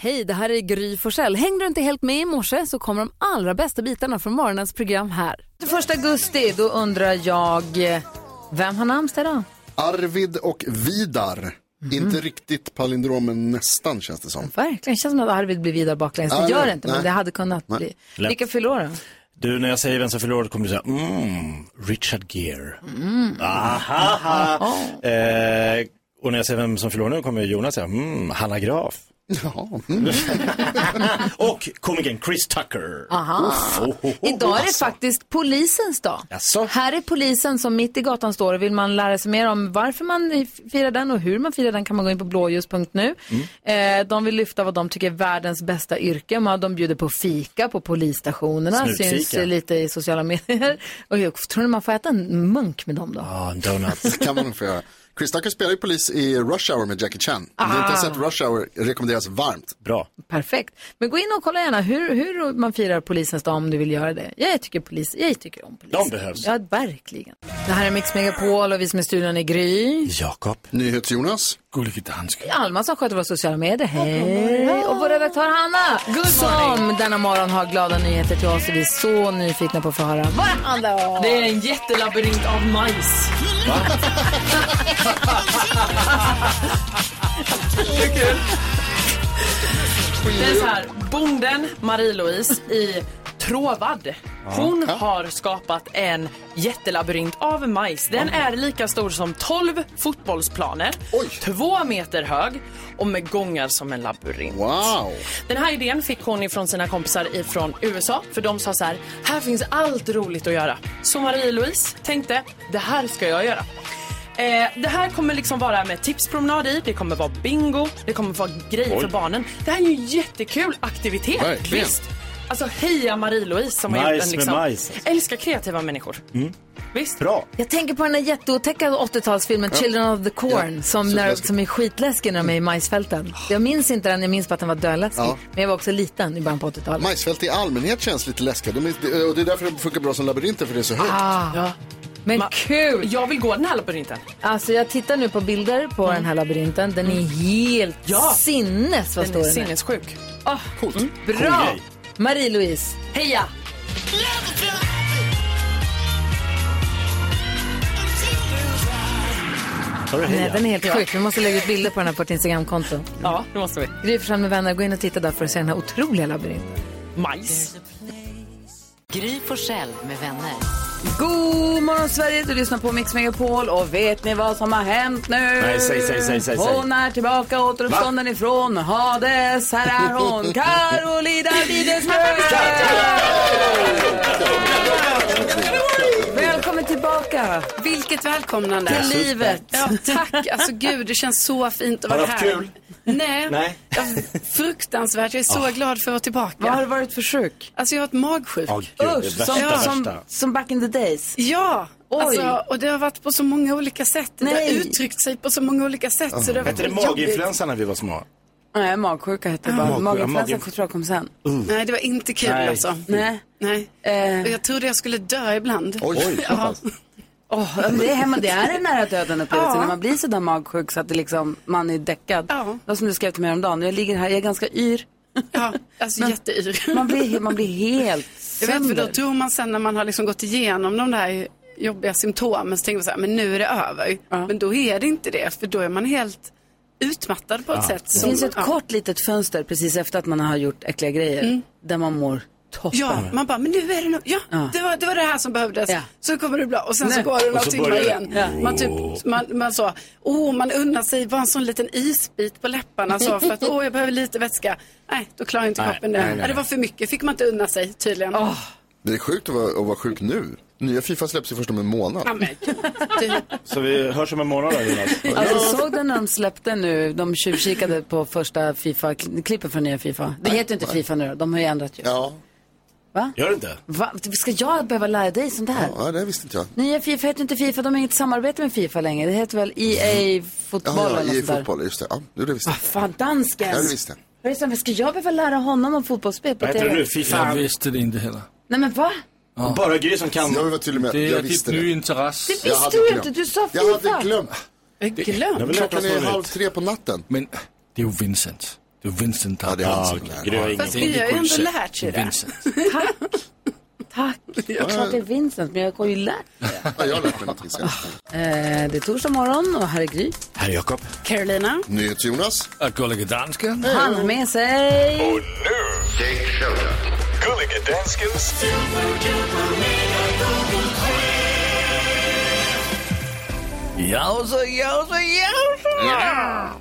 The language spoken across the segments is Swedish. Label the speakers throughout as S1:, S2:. S1: Hej, det här är Gry Forssell. Hängde du inte helt med i morse så kommer de allra bästa bitarna från morgonens program här. 1 augusti, då undrar jag, eh, vem har namnsdag idag?
S2: Arvid och Vidar. Inte riktigt palindrom, men nästan känns det som.
S1: Verkligen, känns som att Arvid blir vidare baklänges. Det
S2: Ja,
S1: gör
S2: nej,
S1: det inte, men
S2: nej.
S1: det hade kunnat
S2: Nej.
S1: bli.
S3: Lätt.
S1: Vilka fyller år då?
S3: Du, när jag säger vem som förlorar då kommer du säga, mm, Richard Gere.
S1: Mm.
S3: Ahaha. Eh, och när jag säger vem som förlorar nu kommer Jonas säga, mm, Hanna Graf.
S2: Ja, mm.
S3: och komikern Chris Tucker.
S1: Aha.
S3: Oh, oh, oh,
S1: Idag är det
S3: alltså.
S1: faktiskt polisens dag.
S3: Jaså?
S1: Här är polisen som mitt i gatan står och vill man lära sig mer om varför man firar den och hur man firar den kan man gå in på blåljus.nu.
S3: Mm.
S1: Eh, de vill lyfta vad de tycker är världens bästa yrken. Man- De bjuder på fika på polisstationerna,
S3: Snutfika.
S1: syns eh, lite i sociala medier. Och jag tror ni man får äta en munk med dem då?
S3: Ja, en donut.
S2: det kan man nog få göra. Chris Tucker spelar ju polis i Rush Hour med Jackie Chan. Om du inte har sett Rush Hour rekommenderas varmt.
S3: Bra.
S1: Perfekt. Men gå in och kolla gärna hur, hur man firar polisens dag om du vill göra det. Jag tycker, polis, jag tycker om polisen.
S3: De behövs.
S1: Ja, verkligen. Det här är Mix Megapol och vi som är i studion är Gry.
S3: Jakob.
S2: NyhetsJonas.
S3: Gullige dansk.
S1: Alma som sköter våra sociala medier. Hej! Och vår redaktör Hanna som denna morgon har glada nyheter till oss. Och vi är så nyfikna på att få höra vad det handlar om.
S4: Det är en jättelabyrint av majs. Det är så här, bonden Marie-Louise i Tråvad. Hon har skapat en jättelabyrint av majs. Den är lika stor som 12 fotbollsplaner,
S2: Oj.
S4: två meter hög och med gångar som en labyrint.
S2: Wow.
S4: Den här idén fick hon ifrån sina kompisar ifrån USA för de sa så här, här finns allt roligt att göra. Så Marie-Louise tänkte, det här ska jag göra. Eh, det här kommer liksom vara med tipspromenad i, det kommer vara bingo, det kommer vara grejer för barnen. Det här är ju en jättekul aktivitet.
S2: Verkligen.
S4: Visst. Alltså heja Marie-Louise som
S3: Majs
S4: har gjort den
S3: med
S4: liksom.
S3: majs. alltså. Mm.
S4: Älskar kreativa människor. Visst?
S3: Bra.
S1: Jag tänker på den där jätteotäcka 80-talsfilmen Children of the Corn
S2: Ja,
S1: som, när,
S2: superläskig.
S1: som är skitläskig när de är i majsfälten. Jag minns inte den, jag minns bara att den var dödläskig.
S2: Ja.
S1: Men jag var också liten i början på 80-talet.
S2: Majsfält i allmänhet känns lite läskiga. De är, och det är därför det funkar bra som labyrinter, för det är så högt.
S1: Ah.
S4: Ja.
S1: Men
S4: Ma-
S1: kul!
S4: Jag vill gå den här labyrinten.
S1: Alltså jag tittar nu på bilder på den här labyrinten. Den är helt
S4: Mm. Ja.
S1: sinnes vad
S4: Den är
S1: stor den är.
S4: sinnessjuk.
S2: Coolt.
S1: Bra!
S3: Cool grej.
S1: Marie-Louise, heja!
S3: Sa du
S1: Nej, den
S3: heja?
S1: är helt sjuk. Vi måste lägga ut bilder på den här på vårt Instagramkonto.
S4: Ja, det måste vi.
S1: Gry Forssell med vänner, gå in och titta där för att se den här otroliga labyrinten.
S4: Majs.
S5: Gry Forssell med vänner.
S1: God morgon Sverige, du lyssnar på Mix Megapol och vet ni vad som har hänt nu?
S3: Nej, säg, säg, säg, säg, säg.
S1: Hon är tillbaka återuppstånden ifrån Hades. Här är hon, Carolina Widerström! Välkommen tillbaka
S6: Vilket välkomnande.
S1: till livet.
S6: Ja, tack. Alltså gud, det känns så fint att
S3: Har
S6: vara
S3: du
S6: här.
S3: haft kul?
S6: Nej.
S3: Nej. Ah.
S6: Ja, Fruktansvärt. Jag är så glad för att vara
S1: Vad har
S6: tillbaka.
S1: det varit för sjuk?
S6: Alltså jag har ett magsjuk.
S3: Åh, gud, det är
S1: Usch,
S3: värsta,
S6: som-
S1: Som,
S3: värsta.
S1: som back in the days.
S6: Ja.
S1: Oj.
S6: Alltså, och det har varit på så många olika sätt. Det har
S1: Nej.
S6: uttryckt sig på så många olika sätt. Så det har varit
S3: Hette det
S6: jobbigt.
S3: maginfluensa när vi var små?
S1: Nej, magsjuka hette det bara.
S3: Mag-
S1: Maginfluensan
S3: magin-
S1: tror jag kom sen.
S6: Nej, det var inte kul
S3: Nej.
S6: alltså.
S1: Nej.
S6: Nej.
S1: Eh.
S6: Och Jag trodde jag skulle dö ibland.
S2: Oj.
S6: Ja.
S1: Åh, men det, är hemma, det är en nära döden upplevelse
S6: Ja.
S1: när man blir så där magsjuk så att det liksom, man är däckad.
S6: Ja.
S1: Det var som du skrev till mig häromdagen. Jag ligger här, jag är ganska yr.
S6: Ja, alltså jätteyr.
S1: Man blir, man blir helt
S6: Jag vet, för då
S1: sönder.
S6: tror man sen när man har liksom gått igenom de där jobbiga symptomen så tänker man så här, men nu är det över. Men då är det inte det, för då är man helt utmattad på ett sätt.
S1: Det
S6: som-
S1: finns ju ett
S6: ja. Mm.
S1: kort litet fönster precis efter att man har gjort äckliga grejer där man mår toppen.
S6: Ja, man bara, men nu är det nog, ja, Det, var, det var det här som behövdes.
S1: Ja.
S6: Så kommer det bra. Och sen
S1: Nej.
S6: så går det några
S3: så
S6: timmar
S3: börjar det.
S6: igen. Man typ, man, man så, åh, man unnar sig bara en sån liten isbit på läpparna så för att, åh, jag behöver lite vätska. Nej, då klarar inte
S3: Nej,
S6: kroppen
S3: nej,
S6: det.
S3: nej.
S6: Ja, Det var för mycket, fick man inte unna sig tydligen.
S2: Det är sjukt att vara, att vara sjuk nu. Nya Fifa släpps ju först om en månad.
S6: Ja, men gud. Du,
S3: Så vi hörs om en månad då, Jonas.
S1: Alltså, såg du när de släppte nu, de tjuvkikade på första Fifa-klippet från nya Fifa? Det heter ju inte Fifa nu då, de har ju ändrat ju.
S2: Ja,
S3: Gör det inte?
S1: Va? Ska jag behöva lära dig sånt här?
S2: ja det visste inte jag.
S1: Nya Fifa heter inte Fifa, de har inget samarbete med Fifa längre. Det heter väl EA fotboll
S2: Mm. Ja,
S1: eller
S2: ja, i
S1: något sånt där.
S2: fotboll, just det. Ja, jo, det visste jag.
S1: Fan, dansken!
S2: Ja, det visste jag.
S1: Vad är det som- Ska jag behöva lära honom om fotbollsspel? på
S3: Vad heter det
S1: TV?
S3: nu? Fifa?
S7: Jag visste det inte heller.
S1: Nej men va?
S3: Bara Gry som kan.
S2: Jag vill vara tydlig med att
S7: Det
S2: jag
S7: är typ ditt
S2: visste
S7: nya
S2: det.
S7: intresse.
S1: Det
S2: Jag
S1: visste
S2: hade
S1: du
S2: glömt.
S1: inte, du sa
S2: Jag hade
S1: Fifa!
S2: glömt.
S6: jag glömt.
S3: Jag vill lära
S2: Klockan
S3: oss
S2: är
S3: något
S2: halv
S3: nytt.
S2: tre på natten.
S7: Men det är ju Vincent. Du Vincent
S2: Ja, det är han som lär.
S3: det har jag
S6: Fast
S3: ingen
S6: vi har ju ändå lärt sig det.
S7: Vincent.
S1: Tack. Det är klart det är Vincent, men jag har ju lärt
S2: Ja, jag har lärt mig någonting sen.
S1: Eh, Det är torsdag morgon och här är Gry.
S7: Herr Jakob.
S6: Carolina.
S2: NyhetsJonas.
S7: Att gulliga dansken.
S1: Han har med sig...
S8: Och nu, Dick Showtime. Gullige Danskens
S7: Jausa, jausa, jausa!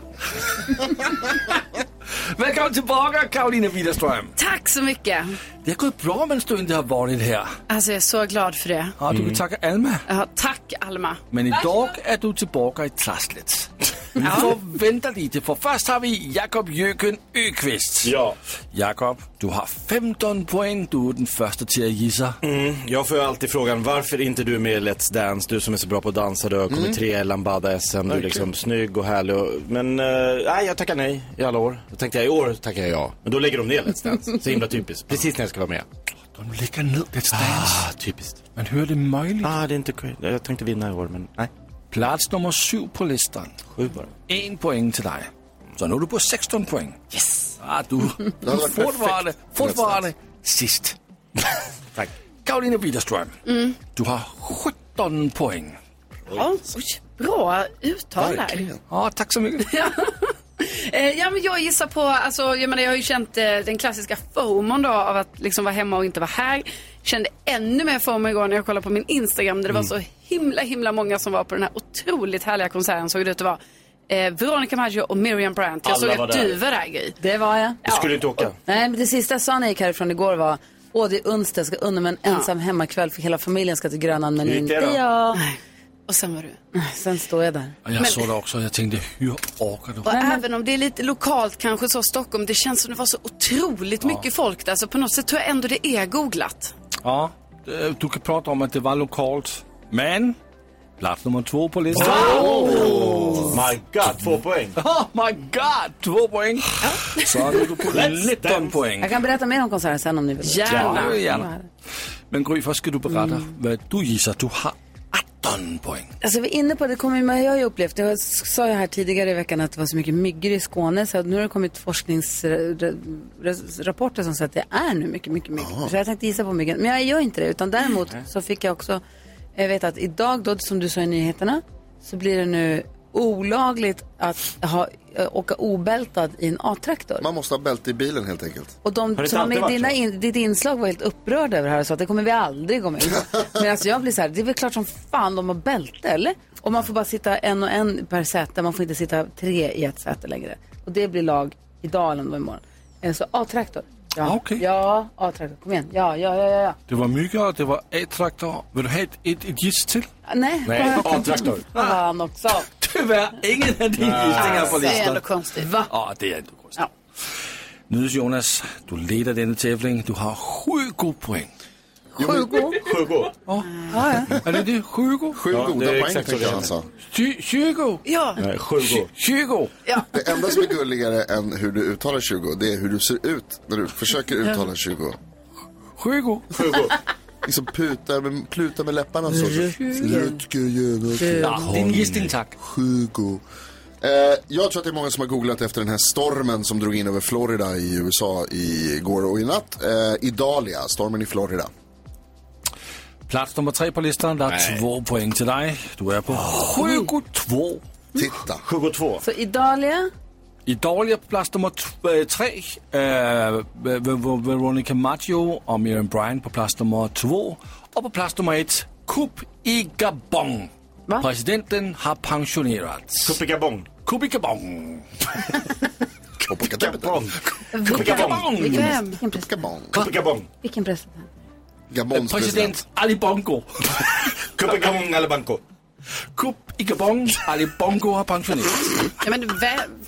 S7: Välkommen tillbaka Karolina Widerström.
S6: Tack så mycket.
S7: Det har gått bra medan du inte har varit här.
S6: Alltså jag är så glad för det.
S7: Ja, du vill tacka Alma.
S6: Ja, tack Alma.
S7: Men idag är du tillbaka i trasslet. Vi får vänta lite för först har vi Jakob Jöken Öqvist.
S3: Ja,
S7: Jakob, du har 15 poäng. Du är den första till att gissa.
S2: Mm.
S3: jag får ju alltid frågan varför är inte du med i Let's Dance? Du som är så bra på att dansa, du har kommit trea i Lambada-SM, du är liksom snygg och härlig. Och, men eh, nej, jag tackar nej i alla år. Då tänkte jag i år tackar jag ja. Men då lägger de ner Let's Dance. Så himla typiskt. Precis när jag ska vara med.
S7: De lägger ner Let's
S3: Ah, typiskt.
S7: Men hur är det möjligt?
S3: Ah, det är inte kul. Jag tänkte vinna i år, men nej.
S7: Plats nummer sju på listan.
S3: Sju bara.
S7: En poäng till dig. Så nu är du på 16 poäng. Yes! Ah, du
S2: Det hade varit
S7: fortfarande,
S2: perfekt.
S7: fortfarande sist.
S3: Tack.
S7: Karolina Widerström, du har 17 poäng.
S6: Ja, oj, bra uttal där.
S2: Verkligen.
S7: Ja, tack Ah, så mycket.
S6: Eh, ja, men jag gissar på, alltså, jag, menar, jag har ju känt eh, den klassiska FOMON då, av att liksom vara hemma och inte vara här. Kände ännu mer FOMO igår när jag kollade på min Instagram där det
S3: Mm.
S6: var så himla, himla många som var på den här otroligt härliga konserten. Såg det ut att vara eh, Veronica Maggio och Miriam Bryant. Jag
S3: Alla
S6: såg
S3: var
S6: att
S3: där.
S6: du var där Gry.
S1: Det var jag.
S3: Du skulle inte åka.
S1: Nej, men det sista jag sa när jag gick härifrån igår var Åh, det är onsdag, jag ska unna mig en ensam hemmakväll för hela familjen ska till Grönan, men
S3: gick
S1: inte
S3: det då?
S1: jag.
S6: Och sen var du.
S1: Sen står jag där.
S7: Och jag såg det också och jag tänkte, hur orkar du?
S6: Och även om det är lite lokalt kanske så Stockholm, det känns som det var så otroligt mycket folk där. Så på något sätt tror jag ändå det är googlat.
S7: Ja, eh, du kan prata om att det var lokalt. Men, plats nummer två på listan.
S3: Oh My God, två poäng.
S7: Oh my god, två poäng. Så är du på 19 poäng.
S1: Jag kan berätta mer om konserten sen om ni vill.
S7: Gärna. gärna. Men Gry, först ska du berätta vad du gissar. Du har 18 poäng.
S1: Alltså vi är inne på det, kommer, men jag har ju upplevt, det. jag sa ju här tidigare i veckan att det var så mycket myggor i Skåne så att nu har det kommit forskningsrapporter som säger att det är nu mycket, mycket myggor. Så jag tänkte gissa på myggen, men jag gör inte det utan däremot så fick jag också jag vet att idag då, som du sa i nyheterna, så blir det nu olagligt att ha, ö, åka obältad i en A-traktor.
S2: Man måste ha bälte i bilen helt enkelt.
S1: Och
S3: Har
S1: de
S3: det
S1: som var med
S3: inte
S1: i
S3: alltid
S1: dina
S3: varit
S1: in, ditt inslag var helt upprörda över det här och sa att det kommer vi aldrig gå med på. Men alltså jag blir så här, det är väl klart som fan de har bälte eller? Och man får bara sitta en och en per säte, man får inte sitta tre i ett säte längre. Och det blir lag idag eller om det var imorgon. Eh, Så A-traktor. Ja,
S7: Ah, okej.
S1: ja A-traktor, kom igen. Ja, ja, ja, ja. ja.
S7: Det var myggor, det var A-traktor. Vill du ha ett, ett, ett giss till?
S1: Ah, Nej,
S3: Nej, A-traktor.
S6: Ah.
S1: fan också.
S7: Tyvärr, ingen av dina gissningar på
S6: Det är ändå
S7: listan.
S6: konstigt.
S7: Ja, det är ändå konstigt. Nydes Jonas, du leder denna tävling. Du har 20 poäng.
S1: Sjugo.
S3: Sju god.
S7: Är det det? 20?
S2: Sju
S3: Ja,
S2: goda
S3: det är
S2: poäng
S3: exakt
S2: tänker
S3: så
S2: jag
S3: det
S2: han sa.
S7: Tju- 20?
S6: Ja,
S3: Nej, sju god.
S7: 20?
S2: Det enda som är gulligare än hur du uttalar 20, det är hur du ser ut när du försöker uttala 20.
S7: 20?
S3: Sju god.
S2: Liksom puta med, pluta med läpparna så. Rutger Jonas.
S7: Ja, din gissning tack.
S2: Hugo. Eh, jag tror att det är många som har googlat efter den här stormen som drog in över Florida i USA igår och i natt. Eh, Idalia, stormen i Florida.
S7: Plats nummer tre på listan. Det är två poäng till dig. Du är på 22.
S2: Titta.
S3: Sju god två.
S1: Så Idalia,
S7: I dåliga plats nummer t- eh, tre, eh, Ver- Ver- Veronica Maggio och Miriam Bryant på plats nummer två. Och på plats nummer ett, Kup i Gabon.
S1: Va?
S7: Presidenten har pensionerats.
S3: Kuppe Gabon.
S7: Kup i Gabon.
S2: Gabon.
S3: Gabon.
S7: Gabon!
S1: vilken, vilken, pres-
S2: Gabon.
S3: Kuppe Gabon.
S1: vilken president?
S2: Gabons president.
S7: President Ali Bongo.
S3: Kuppe Gabon eller Banco.
S7: Kup i Gabon. Ali Bongo har pensionerats.
S6: ja men vem,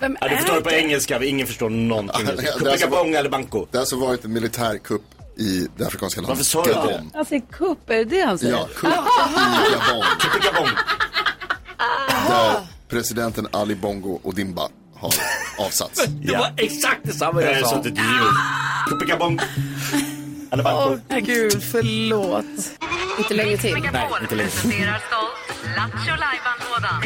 S6: vem
S3: Ja, du får ta
S6: är
S3: det på engelska. Ingen förstår någonting.
S2: det är
S3: Kuppe
S2: alltså-
S3: Gabon eller Banco.
S2: Det har alltså varit en militärkupp i det afrikanska landet.
S3: Varför sa du
S2: Gabon.
S3: det?
S1: Alltså kupp, är det det han säger?
S2: Ja, kupp i Gabon.
S3: Kuppe Gabon.
S2: Där presidenten Ali Bongo Odimba har avsatts.
S7: Det var exakt detsamma
S3: Jag har
S7: jag sa.
S3: suttit i djur. Kuppe Gabon. Eller Banco.
S6: Gud, förlåt. Inte längre till.
S3: Nej, inte längre.
S5: Presenterar stolt Lattjo Lajban-lådan.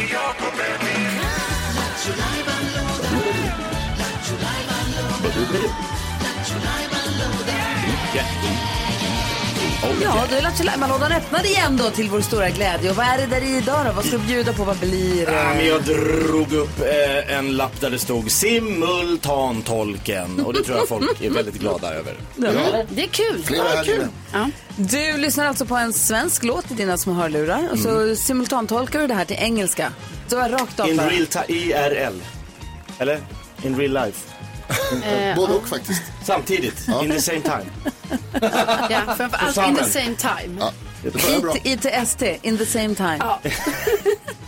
S1: Ja, då är Lattjo Lajban-lådan öppnad igen då till vår stora glädje. Och vad är det där i idag då? Vad ska du bjuda på? Vad blir
S3: Ja, men
S1: det?
S3: jag drog upp eh, en lapp där det stod simultantolken och det tror jag folk är väldigt glada över.
S2: Ja,
S6: Det är kul.
S2: flera här inne.
S1: Du lyssnar alltså på en svensk låt i dina små hörlurar och så simultantolkar du det här till engelska. Så var rakt av
S3: In
S1: bara.
S3: real time, IRL. Eller? In real life.
S2: Både och faktiskt.
S3: Samtidigt, in the same time.
S6: Ja, framförallt alltså, in the same time.
S2: Ja, det börjar bra.
S1: ITST, in the same time.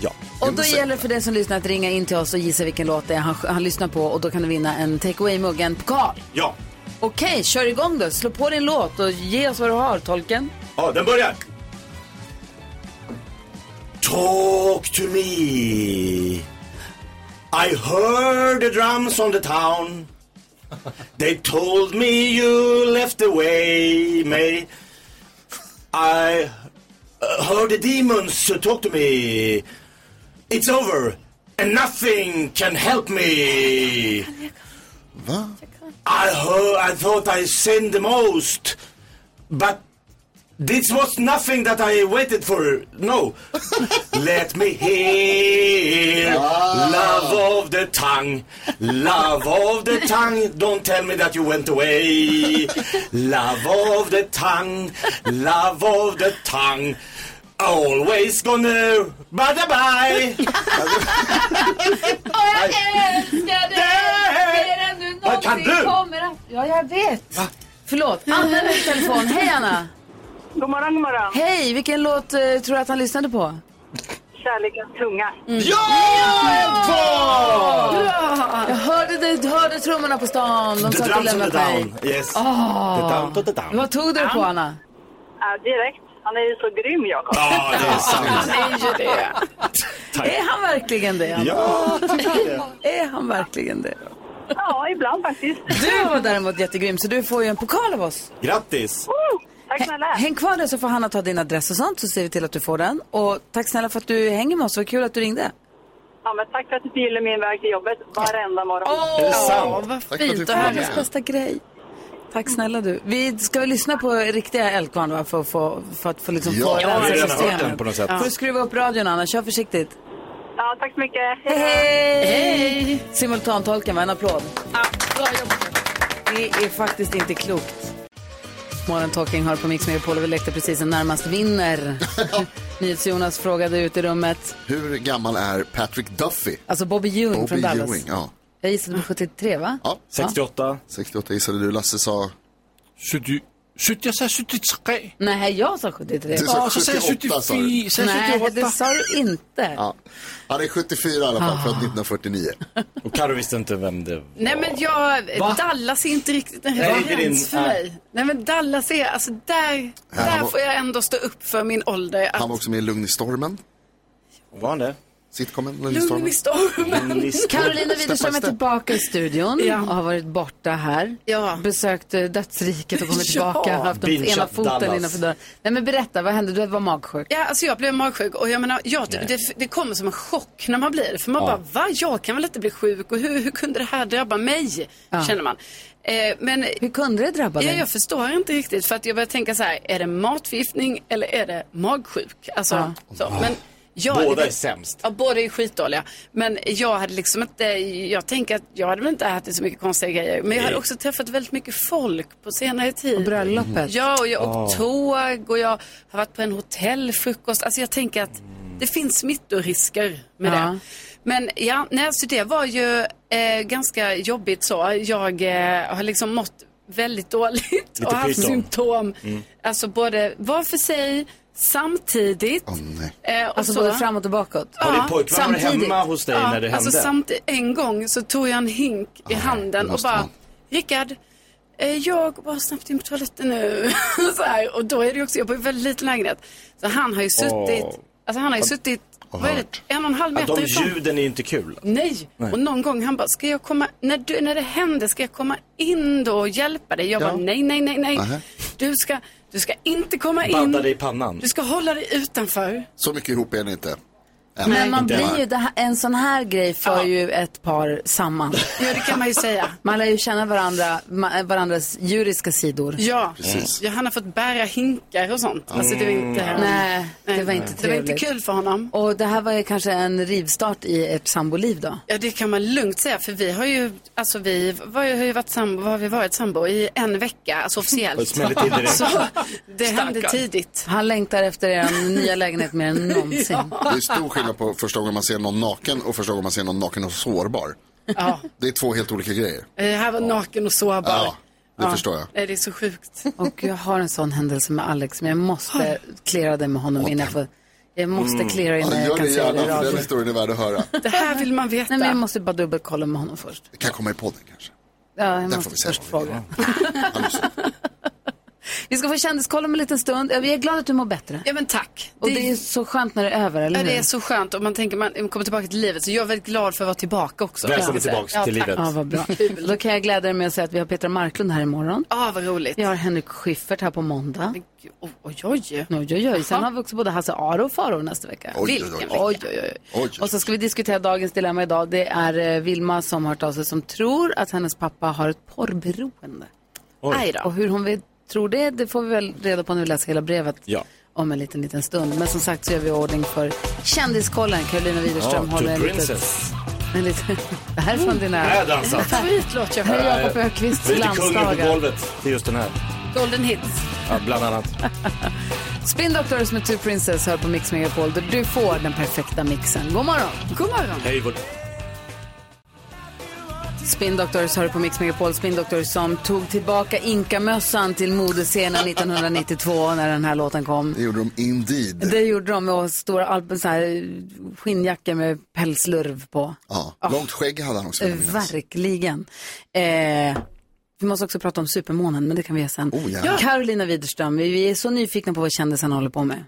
S3: Ja.
S1: Och då
S2: the same
S1: gäller det för dig som lyssnar att ringa in till oss och gissa vilken låt det är han, han lyssnar på och då kan du vinna en takeaway-mugg, en pokal.
S3: Ja.
S1: Okej, kör igång då. Slå på din låt och ge oss vad du har, tolken.
S3: Ja, den börjar. Talk to me. I heard the drums on the town. They told me you left away, May. I uh, heard the demons to talk to me. It's over, and nothing can help me.
S2: Va?
S3: I heard, I thought I sinned the most, but this was nothing that I waited for. No, let me hear love of the tongue, love of the tongue. Don't tell me that you went away. Love of the tongue, love of the tongue. Always gonna bye bye.
S5: jag älskar dig mer än du
S3: Vad kan
S5: någonsin
S3: du?
S5: kommer att... Ja, jag vet.
S1: Förlåt, Anna är med i telefon. Hej Anna!
S9: God morgon, god morgon.
S1: Hej, vilken låt eh, tror du att han lyssnade på?
S9: Kärlekens tunga.
S1: Jag hörde, det, hörde trummorna på stan. De
S3: The
S1: sa att du
S3: drums on the
S1: lämnat mig.
S3: down. Yes. The down to the down.
S1: Vad tog du det på Anna?
S9: Ja, direkt. Han är ju så grym, Jakob.
S3: Ja, det är sant.
S1: Är han verkligen det? Anna?
S3: Ja.
S1: Är han verkligen det?
S9: Ja, ibland faktiskt.
S1: Du var däremot jättegrym så du får ju en pokal av oss.
S3: Grattis!
S9: Oh, tack snälla.
S1: Häng kvar där så får Hanna ta din adress och sånt så ser vi till att du får den. Och tack snälla för att du hänger med oss. Vad kul att du ringde.
S9: Ja, men tack för att du fyller min väg till jobbet varenda morgon.
S3: Är det sant?
S6: Vad
S2: Tack för att du
S6: fint
S2: får
S6: och
S2: vara
S6: härligt.
S2: med.
S1: Bästa grej. Tack snälla du. Vi ska väl lyssna på riktiga Eldkvarn va? För, för, för att få liksom
S2: Ja,
S1: få
S2: vi
S3: har
S1: rensa
S3: redan hört
S1: systemet.
S3: den på något sätt.
S1: Får du skruva upp radion Anna, kör försiktigt.
S9: Ja, tack så mycket.
S1: Hej! Hej! Simultantolken, va? En applåd. Det är faktiskt inte klokt. Morgon Talking har på Mix Megapol och vi lekte precis en närmast vinner. NyhetsJonas frågade ut i rummet,
S2: Hur gammal är Patrick Duffy?
S1: alltså Bobby Ewing
S2: Bobby
S1: från Dallas.
S2: Ewing, ja.
S1: Jag gissade på 73 va?
S2: ja.
S3: 68.
S2: 68 gissade du, Lasse sa...
S7: Sytti- sytti- Jag sa 73.
S1: Nej, jag sa 73.
S2: Du
S7: Ja,
S2: sa
S7: så säger
S2: 78 sa du.
S7: 74. Säger
S1: Nej,
S7: 78.
S1: det sa du inte.
S2: Ja. Han är 74 i alla fall, född 1949.
S3: Och Carro visste inte vem det var.
S6: Nej men jag, Dallas är inte riktigt en
S3: Nej, det är
S6: referens
S3: din-
S6: för mig. Nej men Dallas är, alltså där,
S2: han
S6: där
S2: var-
S6: får jag ändå stå upp för min ålder. Att
S2: Han var också med i Lugn i stormen,
S3: Var han det?
S2: sitcomen Lugn i
S6: lugn
S2: stormen.
S6: i stormen.
S1: Karolina Widerström är
S2: step.
S1: tillbaka i studion
S6: Ja.
S1: och har varit borta här.
S6: Ja.
S1: Besökt eh, dödsriket och kommit
S6: Ja.
S1: tillbaka. Ja. Haft den
S3: Binge
S1: ena
S3: up
S1: foten
S3: Dallas.
S1: innanför dörren. Nej men berätta, vad hände? Du var magsjuk.
S6: Ja, alltså jag blev magsjuk och jag menar, ja, det, det, det kommer som en chock när man blir det. För man bara, va? Jag kan väl inte bli sjuk och hur, hur kunde det här drabba mig? Känner man. Eh, men
S1: Hur kunde det drabba
S6: ja,
S1: dig?
S6: jag förstår inte riktigt för att jag börjar tänka så här, är det matförgiftning eller är det magsjuk? Alltså, så. Men jag,
S3: Båda är sämst.
S6: Ja, båda är skitdåliga. Men jag hade liksom inte, jag tänker att jag hade väl inte ätit så mycket konstiga grejer. Men jag hade också träffat väldigt mycket folk på senare tid.
S1: Bröllopet.
S6: Ja, och jag har
S3: Ah.
S6: åkt tåg och jag har varit på en hotellfrukost. Alltså jag tänker att det finns smittorisker med
S1: Ja.
S6: det. Men ja, nej, alltså det var ju eh, ganska jobbigt så. Jag eh, har liksom mått väldigt dåligt och haft
S3: pyton. Mm.
S6: symptom. Alltså både var för sig, samtidigt.
S2: Åh, nej.
S6: eh, och
S1: Alltså
S6: så.
S1: både framåt och bakåt.
S3: Har
S6: Ja,
S3: din pojkvän varit
S1: samtidigt.
S3: hemma hos dig när det hände?
S6: Alltså samtidigt, en gång så tog jag en hink i handen och
S2: måste
S6: bara,
S2: man.
S6: Rickard, eh, jag går bara snabbt in på toaletten nu. så här, och då är det ju också, jag bor i en väldigt liten lägenhet. Så han har ju suttit,
S3: Åh.
S6: alltså han har ju suttit, vad är
S2: hört.
S6: det, en och en halv
S3: Ja,
S6: meter
S3: de
S6: ifrån.
S3: ljuden är inte kul.
S6: Nej. och någon gång han bara, ska jag komma, när, du, när det händer, ska jag komma in då och hjälpa dig? Jag bara, nej, nej, nej, nej.
S2: Nähä.
S6: Du ska, du ska inte komma
S3: Badda dig
S6: in.
S3: i pannan.
S6: Du ska hålla dig utanför.
S2: Så mycket ihop är ni inte.
S1: Men man
S3: Inte
S1: blir
S3: än.
S1: ju, det här, en sån här grej för ju ett par samman.
S6: Ja, det kan man ju säga.
S1: Man lär ju känna varandra, ma- varandras djuriska sidor.
S6: Ja,
S2: Precis.
S6: ja han har fått bära hinkar och sånt. Alltså, det var inte...
S1: Nej, det var inte
S6: Det var inte
S1: trevligt.
S6: kul för honom.
S1: Och det här var ju kanske en rivstart i ert samboliv då?
S6: Ja, det kan man lugnt säga. För vi har ju, alltså vi var, ju- har ju varit sambo, har vi varit sambo i en vecka,
S3: Det
S6: alltså officiellt.
S3: smällde till direkt.
S6: Så det hände tidigt.
S1: Han längtar efter er nya lägenhet mer än någonsin.
S2: Det är stor skillnad på första gången man ser någon naken och första gången man ser någon naken och sårbar.
S6: Ja.
S2: Det är två helt olika grejer.
S6: Eh, här var naken och sårbar.
S2: Ja, det förstår jag.
S6: Nej, det är så sjukt.
S1: Och jag har en sån händelse med Alex, men jag måste klara den med honom innan jag får... Jag måste klara
S2: Mm. Ja,
S1: innan jag
S2: gör
S1: kan
S2: det
S1: säga
S2: gärna,
S1: det i
S2: för den
S1: radio.
S2: historien är värd att höra.
S6: Det här vill man veta.
S1: Nej, men jag måste bara dubbelkolla med honom först.
S2: Det kan komma i podden kanske.
S1: Ja, jag
S2: Där
S1: måste
S2: får vi se
S1: först
S2: vad vi
S1: fråga.
S2: Alltså,
S1: Vi ska få kändiskoll om en liten stund. Jag är glad att du mår bättre.
S6: Ja, men tack.
S1: Och det är så skönt när det är över, eller
S6: Ja,
S1: hur?
S6: det är så skönt om man tänker man kommer tillbaka till livet. Så jag är väldigt glad för att vara tillbaka också.
S3: Välkommen
S6: Ja.
S3: tillbaks
S6: ja,
S3: till
S6: tack.
S3: livet.
S1: Ja, vad bra. Då kan jag glädja er med att säga att vi har Petra Marklund här imorgon.
S6: Ja, Ah, vad roligt.
S1: Vi har Henrik Schiffert här på måndag.
S6: Men gud, Oj, oj, oj.
S1: Oj, oj, oj. Sen har vi också både Hasse Aro och Faro nästa vecka.
S2: Oj,
S1: Vilken
S2: oj,
S1: vecka.
S2: oj.
S1: oj, oj, oj.
S2: Oj,
S1: Och så ska vi diskutera dagens dilemma idag. Det är eh, Vilma som har hört av sig som tror att hennes pappa har ett porrberoende.
S6: Aj då.
S1: Och hur hon vet, tror det, det får vi väl reda på när vi läser hela brevet
S3: Ja.
S1: om en liten, liten stund. Men som sagt så gör vi i ordning för kändiskollen. Carolina Widerström
S3: Ja, to
S1: håller en liten...
S3: princess.
S1: En liten det här är från din
S3: Här har
S1: här.
S3: jag dansat.
S6: Favoritlåt jag
S1: Hej
S6: har.
S1: Jakob Öqvists
S3: Eh, Vi är lite kungen på
S1: glansdagar.
S3: golvet till just den här.
S6: Golden Hits.
S3: Ja, bland annat.
S1: Spin Doctors med Two Princess typ hör på Mix Megapol där du får den perfekta mixen. God morgon!
S6: God morgon.
S3: Hej, vår...
S1: Spin Doctors hör på Mix Megapol. Spin Doctors som tog tillbaka Inka-mössan till modescenen 1992 när den här låten kom.
S2: det gjorde de indeed.
S1: Det gjorde de med stora alp- så här, skinnjackor med pälslurv på.
S2: Ja. Långt skägg hade han också. vill jag minnas.
S1: Verkligen. Eh, vi måste också prata om supermånen, men det kan vi göra sen.
S2: Oh, ja.
S1: Carolina Widerström, vi- vi är så nyfikna på vad kändisarna håller på med.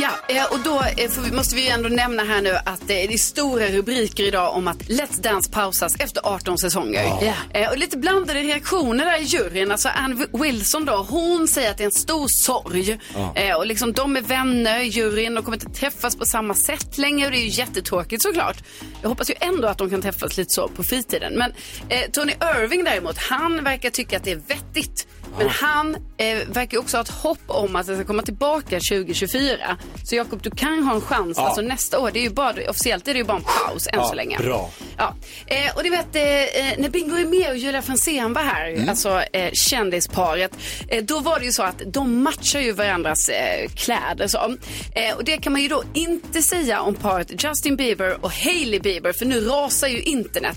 S6: Ja, eh, och då eh, får vi- måste vi ju ändå nämna här nu att eh, det är stora rubriker idag om att Let's Dance pausas efter 18 säsonger. Eh, Och lite blandade reaktioner där i juryn. Alltså Ann Wi- Wilson då, hon säger att det är en stor sorg. Eh, Och liksom de är vänner, juryn, de kommer inte träffas på samma sätt längre och det är ju jättetråkigt såklart. Jag hoppas ju ändå att de kan träffas lite så på fritiden. Men eh, Tony Irving däremot, han verkar tycka att det är vettigt. Men han eh, verkar ju också ha ett hopp om att det ska komma tillbaka 2024. Så Jakob, du kan ha en chans. Alltså nästa år, det är ju bara, officiellt är det ju bara en paus än så länge.
S3: bra.
S6: Ja. Eh, och du vet, eh, eh, när Bingo Rimér och Julia Franzén var här, alltså eh, kändisparet, eh, då var det ju så att de matchar ju varandras eh, kläder. Så. Eh, och det kan man ju då inte säga om paret Justin Bieber och Hailey Bieber, för nu rasar ju internet.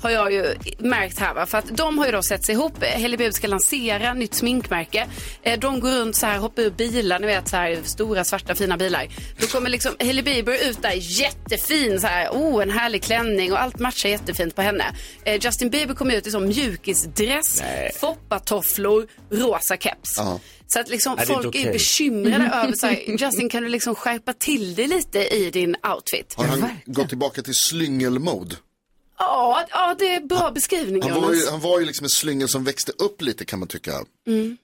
S6: Har jag ju märkt här, va? för att de har ju då sett sig ihop. Eh, Hailey Bieber ska lansera nytt sminkmärke. Eh, de går runt så här, hoppar ur bilar, ni vet så här stora svarta fina bilar. Då kommer liksom Hailey Bieber ut där jättefin så här, oh en härlig klänning och allt matchar jättefint på henne. Eh, Justin Bieber kommer ut i sån mjukisdress, foppatofflor, rosa keps.
S2: Ja.
S6: Så att liksom
S3: Nej, det är
S6: folk
S3: inte
S6: är ju
S3: okej.
S6: bekymrade över så här, Justin kan du liksom skärpa till dig lite i din outfit?
S2: Har han gått tillbaka till slyngelmode?
S6: Ja, ja det är bra beskrivning
S2: Han var,
S6: Jonas.
S2: ju, han var ju liksom en slyngel som växte upp lite kan man tycka.
S1: Han,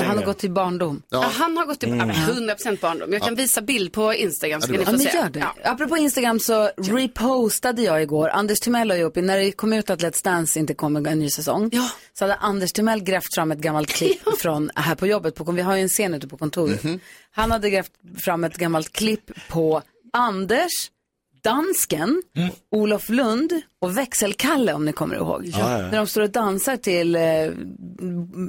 S1: han har gått till barndom.
S6: Ja. han har gått till mm. 100% barndom. Jag kan visa bild på Instagram så ska ni
S1: Ja,
S6: få
S1: men
S6: se.
S1: gör det.
S6: Ja.
S1: Apropå Instagram så repostade jag igår. Anders Timell la ju upp, när det kom ut att Let's Dance inte kommer en ny säsong,
S6: Ja.
S1: så hade Anders Timell grävt fram ett gammalt klipp från här på jobbet. På, vi har ju en scen ute på kontoret. Han hade grävt fram ett gammalt klipp på Anders, dansken, Olof Lund och Växelkalle om ni kommer ihåg. När de står och dansar till eh,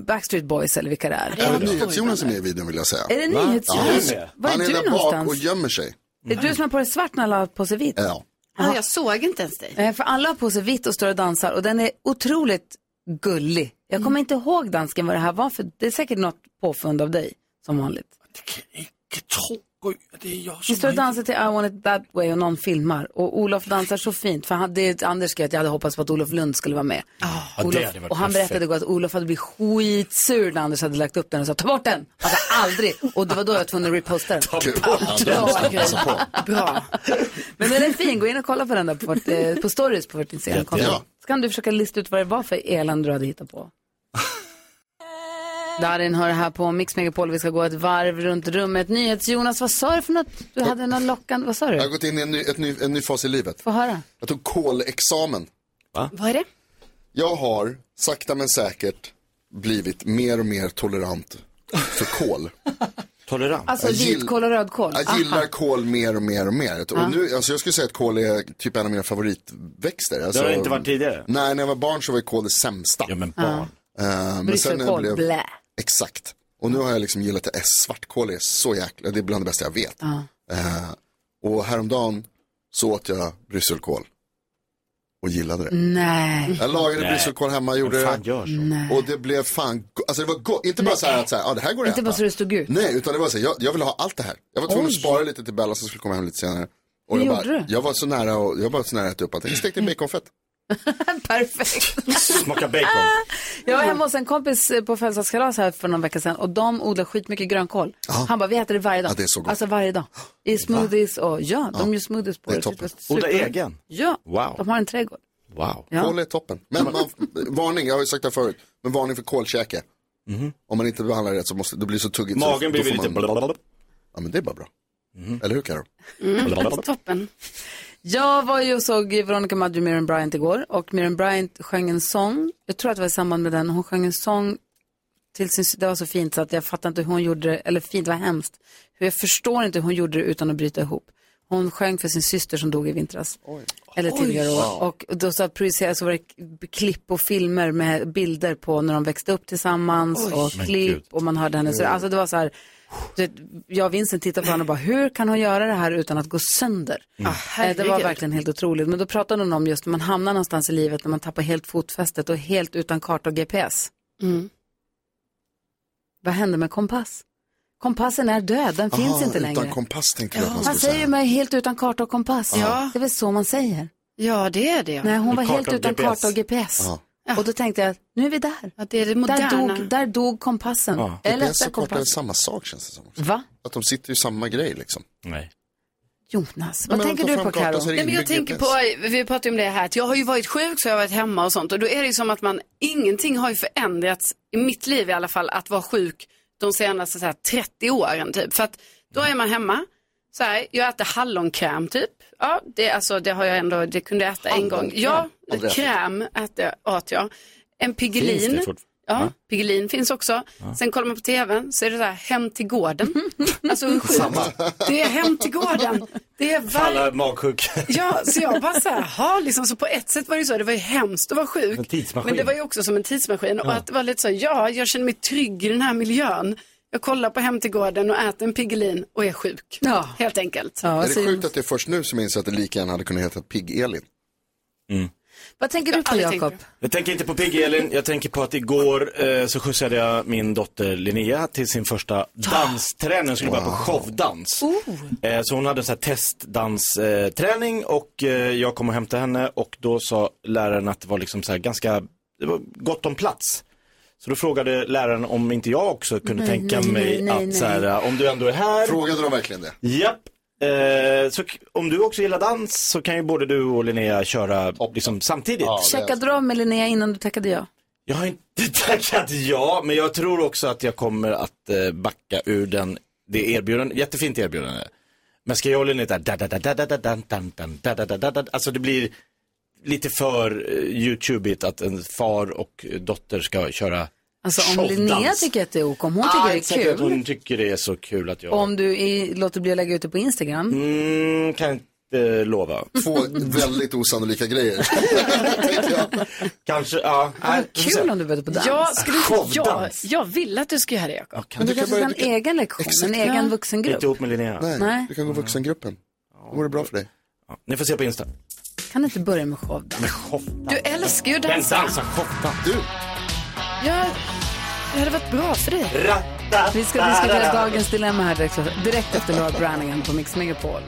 S1: Backstreet Boys eller vilka det är.
S2: Även NyhetsJonas är med i videon vill jag säga.
S1: Är det nyhetsjournalist?
S3: Ja.
S1: Var är
S2: han är
S1: du
S2: där bak
S1: någonstans?
S2: och gömmer sig.
S1: Det är du som har på dig svart när alla har på sig vitt.
S2: Ja.
S6: Ja, jag såg inte ens dig.
S1: Eh, För alla har på sig vitt och står och dansar och den är otroligt gullig. Jag kommer inte ihåg dansken vad det här var för det är säkert något påfund av dig som vanligt.
S7: Ikke tro, Gry, at det er jeg
S1: Vi står
S7: som
S1: och dansar till I want it that way och någon filmar och Olof dansar så fint för han, det, Anders skrev att jag hade hoppats på att Olof Lund skulle vara med.
S3: Ah, det
S1: Olof,
S3: hade varit
S1: och han
S3: perfekt.
S1: berättade igår att Olof hade blivit skitsur när Anders hade lagt upp den och sa ta bort den! Alltså aldrig! Och det var då jag var tvungen att reposta den.
S2: Kul. Ja, det måste jag passa på.
S6: Bra.
S1: Men den är fin, gå in och kolla på den där på, vårt, eh, på stories på vårt Instagramkonto.
S2: Jättebra.
S1: Så kan du försöka lista ut vad det var för elände du hade hittat på. Darin hör här på Mix Megapol. Vi ska gå ett varv runt rummet. NyhetsJonas, vad sa du för något? Du hade någon lockan... Vad sa
S2: Jag har
S1: du?
S2: gått in i en ny, ett ny, en ny fas i livet.
S1: Få höra.
S2: Jag tog kolexamen.
S6: Vad är det?
S2: Jag har sakta men säkert blivit mer och mer tolerant för kol.
S3: Tolerant.
S1: Alltså
S2: Jag gill-
S1: vitkål och rödkål?
S2: Jag gillar kol mer och mer och mer. Och nu, alltså jag skulle säga att kol är typ en av mina favoritväxter.
S3: Det
S2: Alltså,
S3: har det inte varit tidigare.
S2: Nej, när jag var barn så var kol det sämsta.
S3: Ja, men barn.
S2: Eh, men sen när jag
S1: Brysselkål,
S2: blev...
S1: blä.
S2: Exakt. Och nu har jag liksom gillat det. Eh, Svartkål är så jäkla, det är bland det bästa jag vet. Eh, och häromdagen så åt jag brysselkål. Och gillade det.
S1: Mm. Nej.
S2: Jag lagade brysselkål hemma, gjorde
S3: Vem fan
S2: det.
S3: gör så?
S2: Och det blev fan, go- alltså det var gott. Inte bara så här att så här, ja det här går att
S1: Inte bara
S2: äta.
S1: så det stod ut.
S2: Nej, utan det var så här, jag, jag ville ha allt det här. Jag var tvungen att spara lite till Bella som skulle komma hem lite senare. Och
S1: Hur gjorde
S2: jag, bara,
S1: du? Mm.
S2: jag var så nära och, jag var så nära att äta upp att jag stekte baconfett.
S1: Perfekt.
S3: Smaka bacon.
S1: Jag var hemma hos en kompis eh, på födelsedagskalas här för någon vecka sedan och de odlar skitmycket grönkål. Han bara, vi äter det varje dag.
S2: Ja, det är så gott.
S1: Alltså varje dag. I smoothies och ja, de gör smoothies på
S2: Det
S1: det.
S2: är toppen.
S1: var
S3: Odla
S1: super-
S3: egen?
S1: Ja,
S3: Wow.
S1: de har en trädgård.
S3: Wow.
S1: Ja.
S2: Kol är toppen. Men man, varning, jag har ju sagt det här förut, men varning för kolkäke.
S1: Mhm.
S2: Om man inte behandlar det rätt så måste, det blir så tuggigt. så, då
S3: Magen blir
S2: får
S3: lite
S2: man-
S3: blablabla.
S2: Ja men det är bara bra.
S1: Mhm.
S2: Eller hur Karo? Mm.
S1: Eh,
S6: Toppen.
S1: Jag var ju och såg Veronica Maggio och Miriam Bryant igår och Miriam Bryant sjöng en sång, jag tror att det var i samband med den, hon sjöng en sång till sin, det var så fint så att jag fattar inte hur hon gjorde det, eller fint, det var hemskt. Hur jag förstår inte hur hon gjorde det utan att bryta ihop. Hon sjöng för sin syster som dog i vintras. Eller tidigare år. Och då så projicerades så var det k- klipp och filmer med bilder på när de växte upp tillsammans och klipp och man hörde henne. Så, alltså det var så här, du vet, jag och Vincent tittade på varandra och bara, hur kan hon göra det här utan att gå sönder?
S6: Mm.
S1: Eh, det var verkligen helt otroligt. Men då pratade hon om just när man hamnar någonstans i livet när man tappar helt fotfästet och helt utan karta och GPS. Vad händer med kompass? Kompassen är död, den finns
S2: Aha,
S1: inte längre.
S2: Utan kompass tänkte jag att
S1: Man
S2: man skulle
S1: säger ju
S2: säga.
S1: mig helt utan karta och kompass. Det är väl så man säger.
S6: Ja, det är det. Ja.
S1: Nej, hon var
S3: Karta
S1: helt
S3: och
S1: utan
S3: GPS.
S1: karta och GPS. Och då tänkte jag, nu är vi där.
S6: Att det är det
S1: Där
S6: moderna.
S1: dog, där dog kompassen. Eller
S2: GPS
S1: där
S2: och karta är
S1: kompass.
S2: samma sak känns det som. Också.
S1: Va?
S2: Att de sitter ju i samma grej liksom.
S3: Nej.
S1: Jonas, vad
S2: Men
S1: tänker
S2: ta
S1: du
S2: fram
S1: på Karo?
S2: kartan så är Alltså, det
S6: Nej, men jag
S2: inbyggd
S6: tänker på,
S2: GPS.
S6: vi pratade ju om det här, att jag har ju varit sjuk så jag har varit hemma och sånt. Och då är det ju som att man, ingenting har ju förändrats, i mitt liv i alla fall, att vara sjuk de senaste så här, 30 åren typ. För att då är man hemma, så här, jag äter hallonkräm typ. Ja, det, alltså, det har jag ändå, det kunde jag äta en gång. Ja,
S2: Aldrig ätit.
S6: kräm äter, åt jag. En
S3: Finns det
S6: Piggelin.
S3: fortfarande?
S6: Ja, Piggelin finns också. Sen kollar man på tvn så är det så här, hem till gården. alltså hur sjukt? Det är hem till gården. Det är varje
S3: Alla magsjuka.
S6: Ja, så jag bara så här, "Jaha", liksom, så på ett sätt var det ju så, det var ju hemskt att vara
S3: En
S6: sjuk.
S3: tidsmaskin.
S6: Men det var ju också som en tidsmaskin och att det var lite så, ja, jag känner mig trygg i den här miljön. Jag kollar på Hem till gården och äter en Piggelin och är sjuk.
S1: Ja.
S6: Helt enkelt.
S1: Ja,
S2: Är det
S1: så-
S2: sjukt att det är först nu som jag inser att det lika gärna hade kunnat heta Pigg-Elin?
S1: Vad tänker du
S6: Jag har
S1: på
S6: aldrig tänkt
S1: Jakob?
S6: på
S3: Jag tänker inte på Pigg Elin, jag tänker på att igår eh, så skjutsade jag min dotter Linnea till sin första dansträning. Hon skulle börja på showdans.
S1: Oh.
S3: Eh, så hon hade en sån här testdansträning och eh, jag kom och hämtade henne och då sa läraren att det var liksom så här ganska, det var gott om plats. Så då frågade läraren om inte jag också kunde tänka
S1: nej,
S3: mig
S1: nej,
S3: att
S1: nej.
S3: så här, om du ändå är här.
S2: Frågade de verkligen det?
S3: Japp. Eh, så k- om du också gillar dans så kan ju både du och Linnea köra liksom, samtidigt.
S1: Checkade du av med Linnea innan du tackade ja?
S3: Jag har inte tackat ja, men jag tror också att jag kommer att eh, backa ur den, det erbjudandet, jättefint erbjudande. Men ska jag hålla in lite där, da, da, da, da, da, da, da, da, da, da, da, da, da. alltså det blir lite för eh, youtube att en far och dotter ska köra
S1: Alltså om
S3: showdans.
S1: Linnea tycker att det är ok, om hon
S3: ah,
S1: tycker
S3: inte
S1: det
S3: säkert
S1: är
S3: att
S1: kul.
S3: Hon tycker det är så kul att jag...
S1: Om du i, låter bli att lägga ut det på Instagram.
S3: Mm, kan inte lova.
S2: Två väldigt osannolika grejer. Tänker jag.
S3: Kanske, ja. Nej, vi får se.
S1: Kul om du började på dans.
S6: Jag, skulle, jag,
S3: Showdans.
S6: jag vill att du ska göra det, Jakob.
S1: Men du kanske ska ha en egen lektion, en egen
S3: Inte
S1: vuxengrupp.
S3: ihop med Linnea.
S2: Nej,
S1: Nej. Mm.
S2: du kan gå vuxengruppen. Då går det bra för dig.
S3: Ja, Ni får se på Insta.
S1: Kan du inte börja med showdans?
S3: Showdans.
S6: Du älskar ju
S3: Den
S6: dansa.
S3: dansar showdans.
S2: Du,
S6: Ja, det hade varit bra för dig.
S1: Vi ska diskutera dagens dilemma här direkt, direkt efter Laura Branigan på Mix Megapol.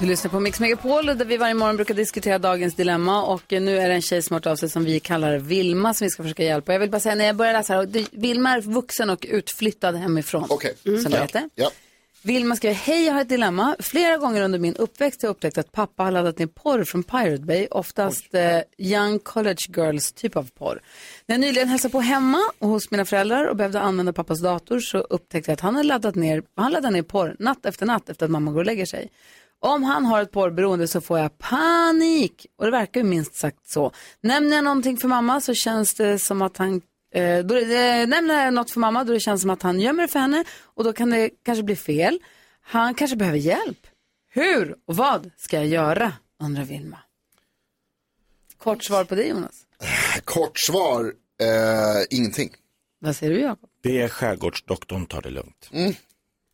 S1: Du lyssnar på Mix Megapol där vi varje morgon brukar diskutera dagens dilemma och eh, nu är det en tjej som har hört av sig som vi kallar Vilma som vi ska försöka hjälpa. Jag vill bara säga när jag började läsa här, och det- Vilma är vuxen och utflyttad hemifrån.
S3: Mm.
S2: Okej.
S1: Mm. Som det heter.
S2: ja.
S1: Vilma skriver, hej jag har ett dilemma. Flera gånger under min uppväxt har jag upptäckt att pappa har laddat ner porr från Pirate Bay, oftast eh, young college girls typ av porr. När jag nyligen hälsade på hemma och hos mina föräldrar och behövde använda pappas dator så upptäckte jag att han har laddat ner, han laddar ner porr natt efter natt efter att mamma går och lägger sig. Om han har ett porrberoende så får jag panik. Och det verkar ju minst sagt så. Nämner jag någonting för mamma så känns det som att han eh, då, eh, nämner jag något för mamma då det känns som att han gömmer det för henne och då kan det kanske bli fel. Han kanske behöver hjälp. Hur och vad ska jag göra? undrar Vilma. Kort svar på det Jonas.
S2: Kort svar, eh, ingenting.
S1: Vad säger du Jakob?
S3: Det är skärgårdsdoktorn, ta det lugnt.
S2: Mm.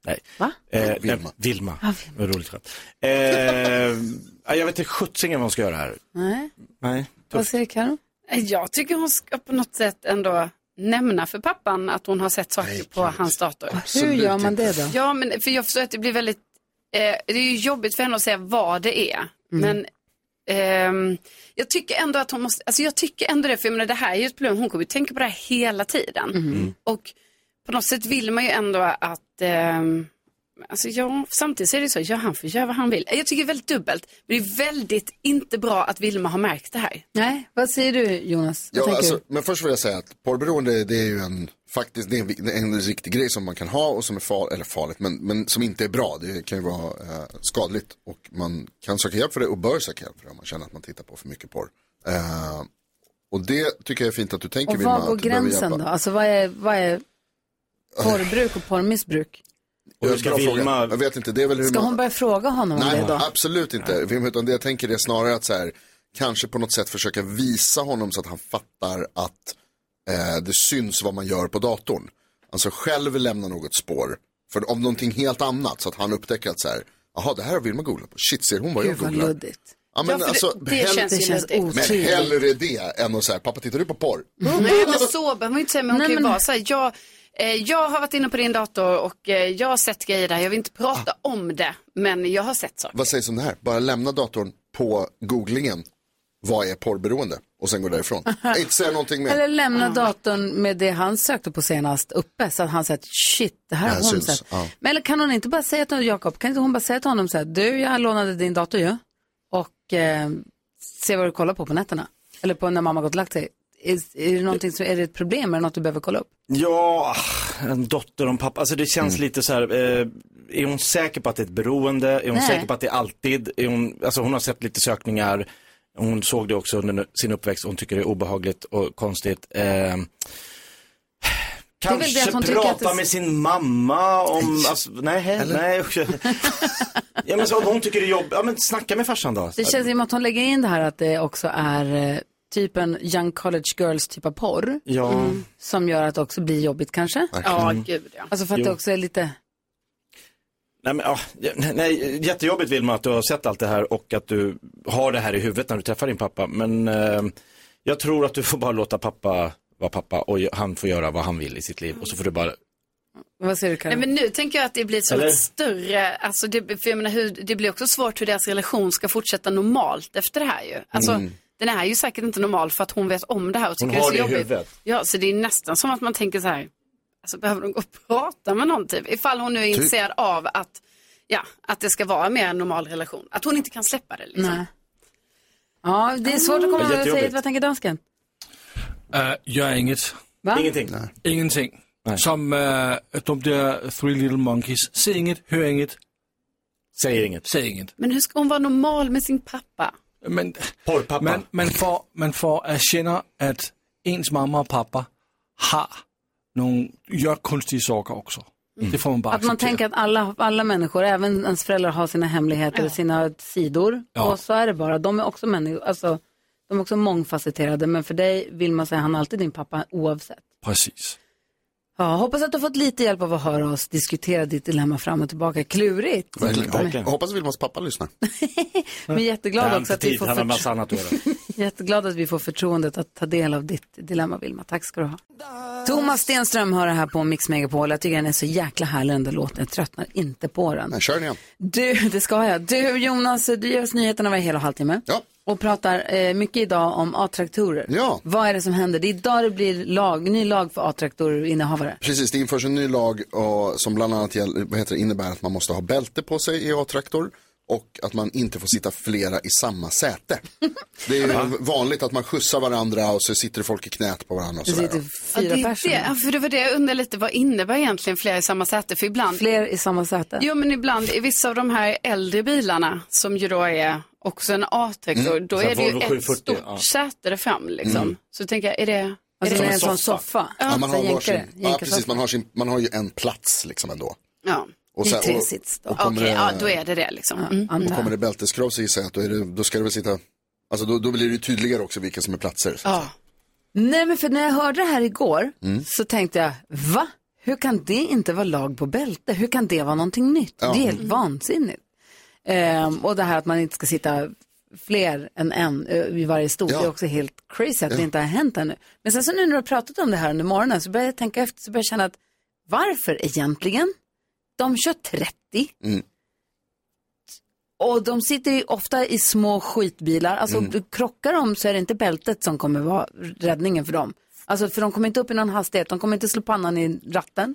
S3: Nej.
S1: Va?
S3: Eh,
S2: Vilma.
S3: Vilma. Vilma.
S1: Ja,
S3: Vad roligt skämt. Eh, ja, jag vet inte sjuttsingen vad hon ska göra här.
S1: Nej.
S3: Nej.
S1: Vad säger Karo?
S6: Jag tycker hon ska på något sätt ändå nämna för pappan att hon har sett saker på hans dator.
S1: Hur
S2: Absolut
S1: gör man
S2: inte.
S1: det då?
S6: Ja, men för jag förstår att det blir väldigt, eh, det är ju jobbigt för henne att säga vad det är.
S1: Mm.
S6: Men ehm, jag tycker ändå att hon måste, alltså jag tycker ändå det, för jag menar, det här är ju ett problem, hon kommer ju tänka på det här hela tiden.
S1: Mm.
S2: Mm.
S6: Och på något sätt vill man ju ändå att, ehm, alltså ja, samtidigt så är det ju så, ja han får göra vad han vill. Jag tycker det är väldigt dubbelt, men det är väldigt inte bra att Vilma har märkt det här.
S1: Nej, vad säger du Jonas? Vad
S2: Ja,
S1: tänker
S2: alltså,
S1: du?
S2: men först vill jag säga att porrberoende det är ju en, faktiskt, det är en, det är en riktig grej som man kan ha och som är far, eller farligt, men, men som inte är bra. Det kan ju vara eh, skadligt och man kan söka hjälp för det och bör söka hjälp för det om man känner att man tittar på för mycket porr. Eh, och det tycker jag är fint att du tänker
S1: Och
S2: Vilma,
S1: var går
S2: att du behöver
S1: gränsen
S2: hjälpa.
S1: då? Alltså vad är, vad är porrbruk och porrmissbruk?
S3: Och hur
S2: Eh,
S3: ska
S2: bra fråga.
S3: Vilma-
S2: Jag vet inte, det är väl hur
S1: Ska
S2: man...
S1: hon börja fråga honom om
S2: Nej,
S1: det då?
S2: absolut inte. Vim, utan det jag tänker är snarare att så här, kanske på något sätt försöka visa honom så att han fattar att eh, det syns vad man gör på datorn. Alltså själv lämna något spår, för om någonting helt annat, så att han upptäcker att så här, jaha det här har Vilma googlat på, shit ser hon vad
S1: Gud
S2: jag
S1: vad
S2: googlar?
S1: luddigt.
S2: Ja, men,
S6: Ja, för
S2: alltså,
S6: det, det
S2: hell-
S6: känns
S1: Det
S6: ju
S1: känns
S6: lite-
S2: men
S1: otrevligt.
S2: hellre det än att säga, pappa tittar du på porr?
S6: Nej, men så behöver man ju inte säga, men hon
S1: Mm. Nej,
S6: kan ju
S1: men-
S6: vara så här, jag, eh, jag har varit inne på din dator och eh, jag har sett grejer där, jag vill inte prata
S1: Ah.
S6: om det, men jag har sett saker.
S2: Vad sägs om det här? Bara lämna datorn på googlingen, vad är porrberoende? Och sen gå därifrån. Inte säga någonting mer.
S1: Eller lämna datorn med det han sökte på senast uppe så att han säger att shit, det här
S2: Det
S1: har
S2: här
S1: hon
S2: syns,
S1: sett.
S2: ja.
S1: Men eller kan hon inte bara säga till Jakob, kan inte hon bara säga till honom så här, du jag lånade din dator ju och eh, se vad du kollar på på nätterna. Eller på när mamma gått och lagt sig. Är, är, det någonting som, är det ett problem? Är det något du behöver kolla upp?
S3: Ja, ah, en dotter och en pappa. Alltså det
S1: Mm.
S3: känns lite så här. Eh, är hon säker på att det är ett beroende? Är hon
S1: Nej.
S3: säker på att det är alltid? Är hon, alltså hon har sett lite sökningar. Hon såg det också under sin uppväxt. Hon tycker det är obehagligt och konstigt. Eh,
S1: väl det att
S3: Kanske
S1: hon tycker
S3: prata
S1: att det-
S3: med sin mamma om, alltså, nej, nej. ja men så om hon tycker det är jobbigt, ja men snacka med farsan då.
S1: Det känns som att hon lägger in det här att det också är eh, typen young college girls typ av porr
S3: Ja.
S1: Mm. som gör att det också blir jobbigt kanske.
S6: Ja, gud ja.
S1: Alltså för att
S3: Jo.
S1: det också är lite,
S3: Nej, men, ja, nej, nej, jättejobbigt Vilma att du har sett allt det här och att du har det här i huvudet när du träffar din pappa. Men eh, jag tror att du får bara låta pappa vara pappa och gö- han får göra vad han vill i sitt liv. Och så får du bara,
S1: vad säger du Karin?
S6: Nej, men nu tänker jag att det blir så
S3: Eller?
S6: ett större, alltså det, för jag menar, hur, det blir också svårt hur deras relation ska fortsätta normalt efter det här ju. Alltså, den är ju säkert inte normal för att hon vet om det här och tycker
S3: Mm. har
S6: det
S3: det i
S6: är så jobbigt.
S3: huvudet.
S6: Ja, så det är nästan som att man tänker så här, alltså behöver de gå och prata med någon typ? Ifall hon nu är intresserad av att, ja, att det ska vara mer en normal relation. Att hon inte kan släppa det liksom.
S1: Nej. Ja, det är svårt att komma ihåg vad jag säger.
S3: Jättejobbigt.
S1: Vad tänker dansken?
S7: Uh, gör inget.
S1: Va?
S3: ingenting.
S7: Ingenting. Som uh, de där Three Little Monkeys. Se inget, hör inget,
S3: Säger inget.
S7: säg inget.
S6: Men hur ska hon vara normal med sin pappa?
S7: Men
S3: Porrpappa.
S7: man, man, får, man får erkänna att ens mamma och pappa har någon, gör konstiga saker också. Det får man bara
S1: Att man
S7: acceptera.
S1: tänker att alla, alla människor, även ens föräldrar, har sina hemligheter och sina sidor.
S7: Ja.
S1: Och så är det bara. De är också människor, alltså, de är också mångfacetterade. Men för dig vill man säga han är alltid din pappa oavsett.
S7: Precis.
S1: Ja, hoppas att du har fått lite hjälp av att höra oss diskutera ditt dilemma fram och tillbaka. Klurigt.
S2: Jag hoppas Vilmas pappa lyssnar.
S1: Men
S3: Han
S1: jätteglad också
S3: har inte
S1: att vi
S3: tid,
S1: får,
S3: han har
S1: förtro-
S3: massa annat att göra.
S1: jätteglad att vi får förtroendet att ta del av ditt dilemma Vilma. Tack ska du ha. Thomas Stenström har det här på Mix Megapol. Jag tycker den är så jäkla härlig den där låten. Jag tröttnar inte på den.
S2: Nej, kör den igen.
S1: Du, det ska jag. Du Jonas, du ger oss nyheterna varje hel och halvtimme.
S2: Ja.
S1: Och pratar eh, mycket idag om A-traktorer.
S2: Ja.
S1: Vad är det som händer? Det är idag det blir lag, ny lag för A-traktorinnehavare.
S2: Precis, det införs en ny lag och, som bland annat gäll, vad heter det, innebär att man måste ha bälte på sig i A-traktor och att man inte får sitta flera i samma säte. Det är ju vanligt att man skjutsar varandra och så sitter folk i knät på varandra och
S1: Det
S2: sådär.
S1: sitter
S6: Ja,
S1: fyra
S6: det är
S1: personer.
S6: det. Ja, för det var det jag undrade lite, vad innebär egentligen flera i samma säte? För ibland,
S1: Fler i samma säte.
S6: jo men ibland i vissa av de här äldre bilarna som ju då är också en A-traktor, då
S3: Så här
S6: är det ju
S3: Volvo
S6: ett
S3: 740,
S6: stort
S3: ja.
S6: säte där fram liksom. Så tänker jag, är det,
S1: Alltså
S6: är
S1: det
S6: det
S1: är en sån soffa.
S2: Ja, man,
S1: Så
S2: har
S1: jänkare.
S2: varsin, ja,
S1: Jänkarsoffa.
S2: precis, man, har sin, man har ju en plats liksom ändå.
S6: ja.
S2: Och
S1: I
S2: sen-
S1: tre
S2: och-
S1: sits då.
S2: och
S6: Okej,
S2: kommer det-
S6: ja då är det det liksom. Mm.
S1: Antar
S2: Och
S1: jag.
S2: kommer det bälteskrav så gissar jag att då, är det, då ska det väl sitta, alltså då, då blir det ju tydligare också vilka som är platser. Så.
S6: Ja.
S1: Nej, men för när jag hörde det här igår så tänkte jag, va? Hur kan det inte vara lag på bälte? Hur kan det vara någonting nytt? Det är helt vansinnigt. Ehm, och det här att man inte ska sitta fler än en eh, vid varje stol,
S2: Ja.
S1: det är också helt crazy att det inte har hänt ännu. Men sen så nu när du har pratat om det här under morgonen så börjar jag tänka efter, så börjar jag känna att varför egentligen? De kör 30.
S2: Mm.
S1: Och de sitter ju ofta i små skitbilar. Alltså
S2: Mm.
S1: krockar de så är det inte bältet som kommer vara räddningen för dem. Alltså för de kommer inte upp i någon hastighet, de kommer inte slå pannan i ratten.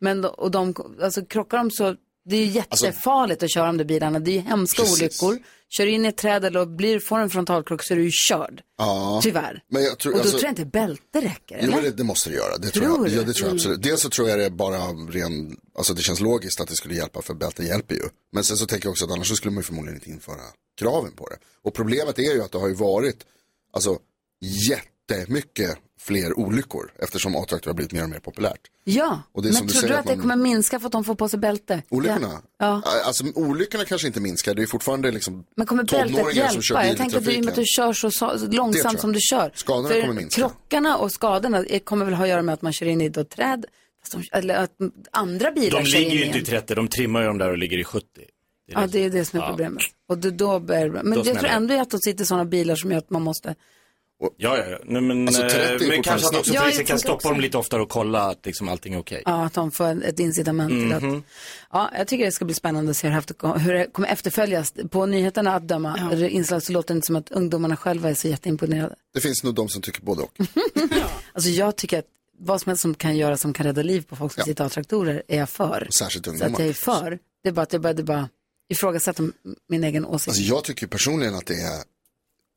S1: Men då- och de, alltså krockar de så, det är ju jättefarligt att köra de där bilarna. Det är ju hemska
S2: Alltså- Precis.
S1: olyckor. Kör in i ett träd eller blir, får en frontalkrock så är du ju körd.
S2: Ja.
S1: Tyvärr.
S2: Men jag tror,
S1: och då
S2: alltså-
S1: tror jag inte bälte räcker.
S2: Jo,
S1: Eller?
S2: men det, det måste det göra. Det tror,
S1: Tror
S2: jag.
S1: du? Mm.
S2: Ja, det tror jag absolut. Dels så tror jag det bara ren, alltså det känns logiskt att det skulle hjälpa för bälten hjälper ju. Men sen så tänker jag också att annars så skulle man ju förmodligen inte införa kraven på det. Och problemet är ju att det har ju varit, alltså jättemycket fler olyckor eftersom A-traktor har blivit mer och mer populärt.
S1: Ja,
S2: Och det är
S1: men
S2: som du
S1: tror
S2: säger
S1: du att,
S2: att
S1: det
S2: man-
S1: kommer minska för att de får på sig bälte?
S2: Olyckorna?
S1: Ja.
S2: Alltså olyckorna kanske inte minskar, det är fortfarande liksom
S1: Men kommer bältet
S2: tonåringar som kör
S1: hjälpa?
S2: bil
S1: Jag
S2: i
S1: tänker att du, i och med att
S2: trafiken.
S1: du kör så, så så
S2: Det tror jag.
S1: långsamt som du kör.
S2: Skadorna
S1: för
S2: kommer minska.
S1: Krockarna och skadorna är- kommer väl ha att göra med att man kör in i då träd, fast de, eller att andra bilar
S3: De
S1: kör in
S3: ligger ju inte i
S1: igen.
S3: 30, de trimmar ju de där och ligger i 70. Det är
S1: Ja, det är det som är problemet. Och då, då börjar, men
S3: Då
S1: jag
S3: smäller
S1: tror
S3: det.
S1: ändå att de sitter i sådana bilar som gör att man måste...
S3: Ja, ja, ja. Nej, men,
S2: Alltså, 30 är
S3: eh, men
S2: fortfarande
S3: kanske att
S2: snabbt.
S3: också
S1: Ja, jag
S3: polisen
S1: tänker
S3: kan stoppa
S1: också.
S3: dem lite oftare och kolla att liksom allting är okej.
S1: Ja, att de får en- ett incitament till att... Ja, jag tycker det ska bli spännande att se hur det efter- hur det kommer efterföljas. På nyheterna att döma, eller inslag, så låter det inte som att ungdomarna själva är så jätteimponerade.
S2: Det finns nog de som tycker både och.
S1: Alltså jag tycker att vad som helst som kan göra som kan rädda liv på folk som
S2: Ja.
S1: sitter av traktorer är jag för.
S2: Särskilt
S1: Så att
S2: ungdomar.
S1: jag är för. Det är bara att jag började bara ifrågasätta m- min egen åsikt.
S2: Alltså jag tycker personligen att det är,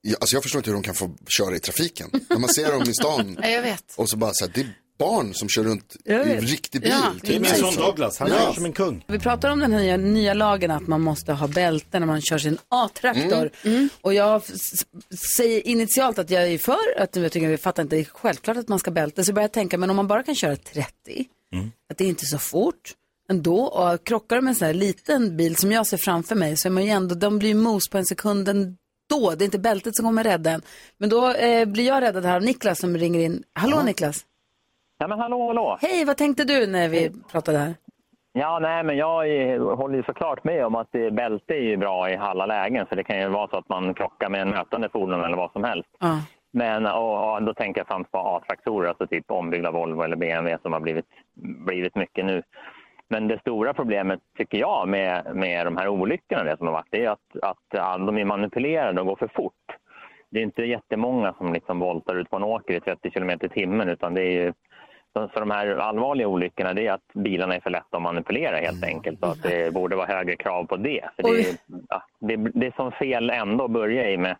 S2: jag- alltså jag förstår inte hur de kan få köra i trafiken. När man ser dem i stan
S6: Ja, jag vet.
S2: och så bara så här, det är barn som kör runt i
S1: Jag
S2: en
S1: vet.
S2: riktig bil.
S6: Ja,
S3: Det är
S2: typ.
S3: min son Douglas, han
S2: Ja.
S3: är som en kung.
S1: Vi pratar om den här nya, nya lagen att man måste ha bälte när man kör sin A-traktor. Och jag f- s- säger initialt att jag är för, att jag tycker jag fattar inte, det är självklart att man ska ha bälte. Så börjar jag tänka, men om man bara kan köra 30, att det är inte så fort ändå. Och krockar de med en sån här liten bil som jag ser framför mig så är man ju ändå, de blir ju mos på en sekund ändå. Det är inte bältet som kommer rädda en. Men då eh, blir jag räddad här av Niklas som ringer in. Hallå Niklas!
S9: Ja, men hallå, hallå.
S1: Hej, vad tänkte du när vi pratade här?
S9: Ja, nej, men jag eh, håller ju såklart med om att eh, bälte är ju bra i alla lägen. Så det kan ju vara så att man krockar med en mötande fordon eller vad som helst.
S1: Ja.
S9: Men och, och då tänker jag främst på A-traktorer, alltså typ ombyggda Volvo eller BMW som har blivit, blivit mycket nu. Men det stora problemet tycker jag med, med de här olyckorna det som har varit, det är att, att ja, de är manipulerade och går för fort. Det är inte jättemånga som liksom voltar ut på en åker i 30 km i timmen utan det är ju så så de här allvarliga olyckorna det är att bilarna är för lätta att manipulera helt enkelt. Så att det borde vara högre krav på det. För det, är, ja, det, det är som fel ändå att börja i med,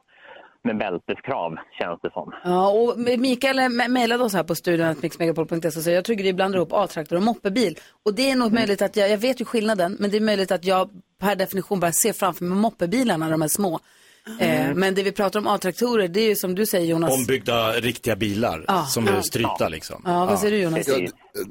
S9: med bälteskrav känns det som.
S1: Ja, och Mikael ma- mejlade oss här på studion att mixmegapol.se och sa jag tycker det blandar ihop A-traktor och moppebil. Och det är nog möjligt att jag, jag vet ju skillnaden, men det är möjligt att jag per definition bara ser framför mig moppebilarna, de här små.
S6: Mm.
S1: Eh, men det vi pratar om A-traktorer, det är ju som du säger Jonas.
S2: Alltså-
S3: Ombyggda riktiga bilar som är strypta liksom.
S1: ja, vad säger du Jonas?
S2: Ja, d-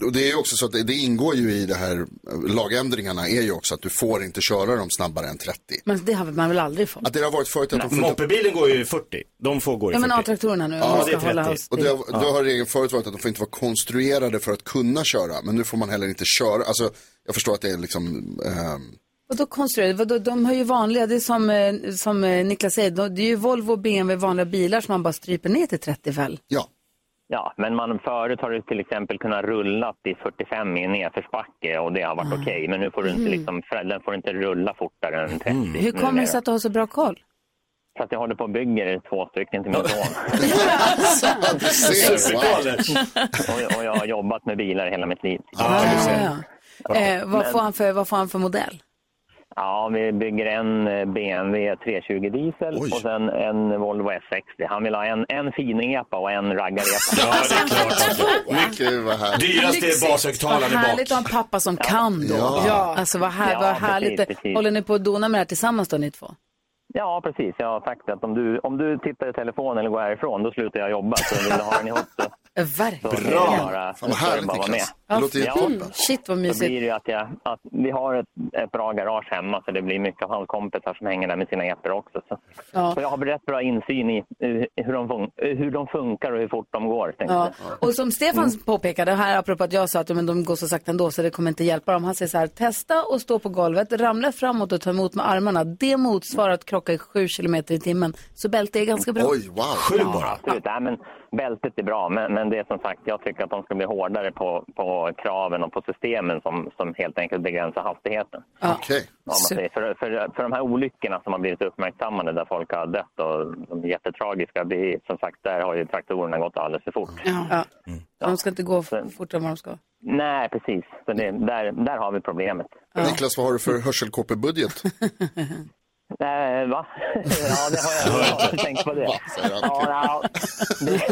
S2: och det är ju också så att det, det ingår ju i det här, eh, lagändringarna är ju också att du får inte köra dem snabbare än 30.
S1: Men det har man väl aldrig fått?
S2: Att det har varit förut att de får inte,
S3: Moppebilen går ju i 40, de får gå i
S1: Ja, men
S3: 40.
S1: A-traktorerna nu,
S3: det
S1: ja,
S3: är
S1: ska hålla
S3: 30.
S1: oss
S2: och
S1: till.
S2: det har, då har regeln förut varit att de får inte vara konstruerade för att kunna köra, men nu får man heller inte köra, alltså jag förstår att det är liksom, ehm,
S1: Och då konstruerade, vadå, de har ju vanliga, det är som, eh, som eh, Niklas säger, de- det är ju Volvo och BMW vanliga bilar som man bara stryper ner till 30 väl?
S2: ja.
S9: Ja, men man, förut har du till exempel kunnat rulla i 45 i en nedförsbacke och det har varit
S1: Ah.
S9: okej. Men nu får du inte,
S1: Mhm.
S9: liksom, den får inte rulla fortare än 30.
S1: Hur kommer det sig
S9: numera.
S1: att du har så bra koll?
S9: För att jag håller på och bygger två stycken till min son.
S1: du ser,
S9: och, och jag har jobbat med bilar hela mitt liv.
S1: Eh, vad,
S9: Men-
S1: får han för, vad får han för modell?
S9: Ja, vi bygger en eh, BMW 320 diesel och sen en Volvo S60. Han vill ha en, en fin epa och en raggarepa.
S3: ja, det är klart.
S2: Mycket vad härligt.
S3: Dyrast är bashögtalaren i
S1: Vad
S3: bak.
S1: härligt att ha en pappa som kan då.
S3: Ja. Ja.
S1: Alltså vad, här,
S9: Ja,
S1: vad
S9: precis,
S1: härligt.
S9: precis.
S1: Håller ni på att dona med det här tillsammans då ni två?
S9: Ja, precis. Jag har sagt att om du, om du tittar i telefon eller går härifrån, då slutar jag jobba. Så vill du ha den ihop så,
S1: Eh, Verkligen.
S9: så är det bara, så är det bara att vara med.
S1: Mm, Shit vad
S9: Så blir
S1: mysigt.
S9: det ju att, jag, att vi har ett, ett bra garage hemma så det blir mycket av hans kompisar som hänger där med sina epor också. Så.
S1: Ja.
S9: så jag har rätt bra insyn i hur- hur de, fun- hur de funkar och hur fort de går. tänkte
S1: Ja.
S9: jag.
S1: Och som Stefan påpekade här, apropå att jag sa att ja, men de går så sakta ändå så det kommer inte hjälpa dem. Han säger så här, testa och stå på golvet, ramla framåt och ta emot med armarna. Det motsvarar att krocka i 7 km i timmen. Så bälte är ganska bra.
S9: Ja, Absolut. Nej, men bältet är bra, men, men det är som sagt, jag tycker att de ska bli hårdare på, på kraven och på systemen som, som helt enkelt begränsar hastigheten.
S2: Okej.
S9: Om man säger. För, för, för de här olyckorna som har blivit uppmärksammade där folk har dött och de är jättetragiska, det är, som sagt, där har ju traktorerna gått alldeles för fort.
S1: Ja. De ska inte gå f- fortare än vad de ska.
S9: Nej, precis. Så det, där, där har vi problemet.
S2: Niklas, vad har du för hörselkåpebudget?
S9: Nej, Eh, va? Ja, det har jag, jag har tänkt på det. Ja, nej,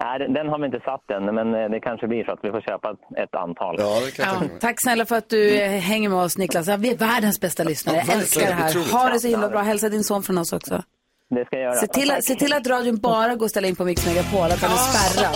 S9: nej, den- den har vi inte satt än, men eh, det kanske blir så att vi får köpa ett- ett antal.
S2: Ja, det
S1: Ja. Tack snälla för att du eh, hänger med oss Niklas. Ja, Vi är världens bästa lyssnare. Jag
S9: verkligen.
S1: älskar det här.
S9: Otroligt.
S1: Ha det så himla bra. Hälsa din son från oss också.
S9: Det ska jag göra.
S1: Se till, att- se till att radion bara går att ställa in på Mix Megapol, att den är spärrad.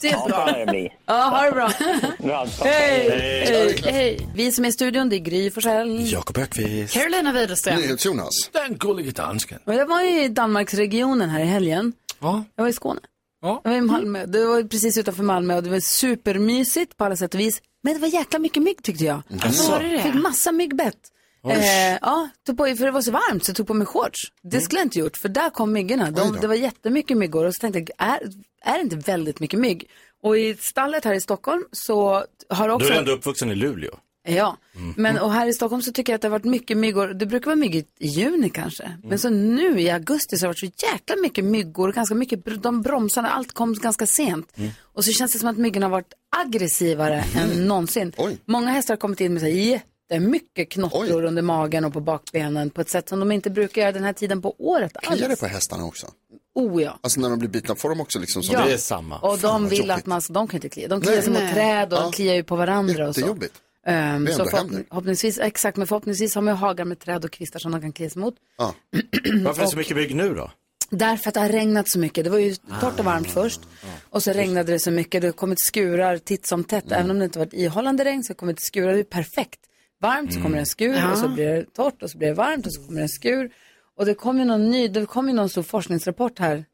S1: Det är
S9: bra.
S1: Ja, ha det bra.
S9: bra.
S1: Hej! Hej! Hej! Vi som är i studion, det är Gry Forssell.
S3: Jakob Ökvist.
S1: Carolina Widerström.
S2: Jonas.
S7: Den gullige dansken.
S1: Och jag var ju i Danmarksregionen här i helgen.
S7: Ja.
S1: Jag var i Skåne.
S7: Ja.
S1: Jag var i Malmö. Det var precis utanför Malmö och det var supermysigt på alla sätt och vis. Men det var jäkla mycket mygg tyckte jag.
S10: Jaså? Var det det?
S1: Fick massa myggbett.
S10: Oj.
S1: Eh, ja, tog på, för det var så varmt så jag tog på mig shorts. Det skulle jag inte gjort för där kom myggorna.
S10: Mm. Oj
S1: De,
S10: då.
S1: det var jättemycket myggor och så tänkte jag, är, är det inte väldigt mycket mygg? Och i stallet här i Stockholm så har det
S3: Du
S1: också...
S3: är ändå uppvuxen i Luleå.
S1: Ja,
S2: Mm.
S1: men och här i Stockholm så tycker jag att det har varit mycket myggor. Det brukar vara myggigt i juni kanske.
S2: Mm.
S1: Men så nu i augusti så har det varit så jäkla mycket myggor. och Ganska mycket, br- de bromsarna, allt kom ganska sent.
S2: Mm.
S1: Och så känns det som att myggorna har varit aggressivare än någonsin. Många hästar har kommit in med så här jättemycket knottror under magen och på bakbenen på ett sätt som de inte brukar göra den här tiden på året
S2: Kliar det
S1: alls.
S2: på hästarna också?
S1: Oh ja.
S2: Alltså när de blir bitna, får de också liksom som
S1: Ja. Och de vill att man, de kan inte klia. De kliar
S2: Nej.
S1: sig mot
S2: Nej.
S1: träd och
S2: Ja.
S1: kliar ju på varandra och så.
S2: Jättejobbigt.
S1: Ehm,
S2: Det
S1: så
S2: ändå händer.
S1: förhopp- förhoppningsvis, exakt, men förhoppningsvis har man ju hagar med träd och kvistar som de kan klia sig mot.
S2: Ja.
S1: Mm.
S3: Varför är det så mycket bygg nu då?
S1: Därför att det har regnat så mycket. Det var ju torrt
S2: Ah.
S1: och varmt först. Och så regnade det så mycket. Det har kommit skurar titt som tätt.
S2: Mm.
S1: Även om det inte varit ihållande regn så har det kommit skurar. Det är perfekt. Varmt så kommer
S2: Mm.
S1: det en skur
S10: Ja.
S1: och så blir det torrt och så blir det varmt och så kommer det en skur. Och det kom ju någon ny, det kom ju någon stor forskningsrapport här.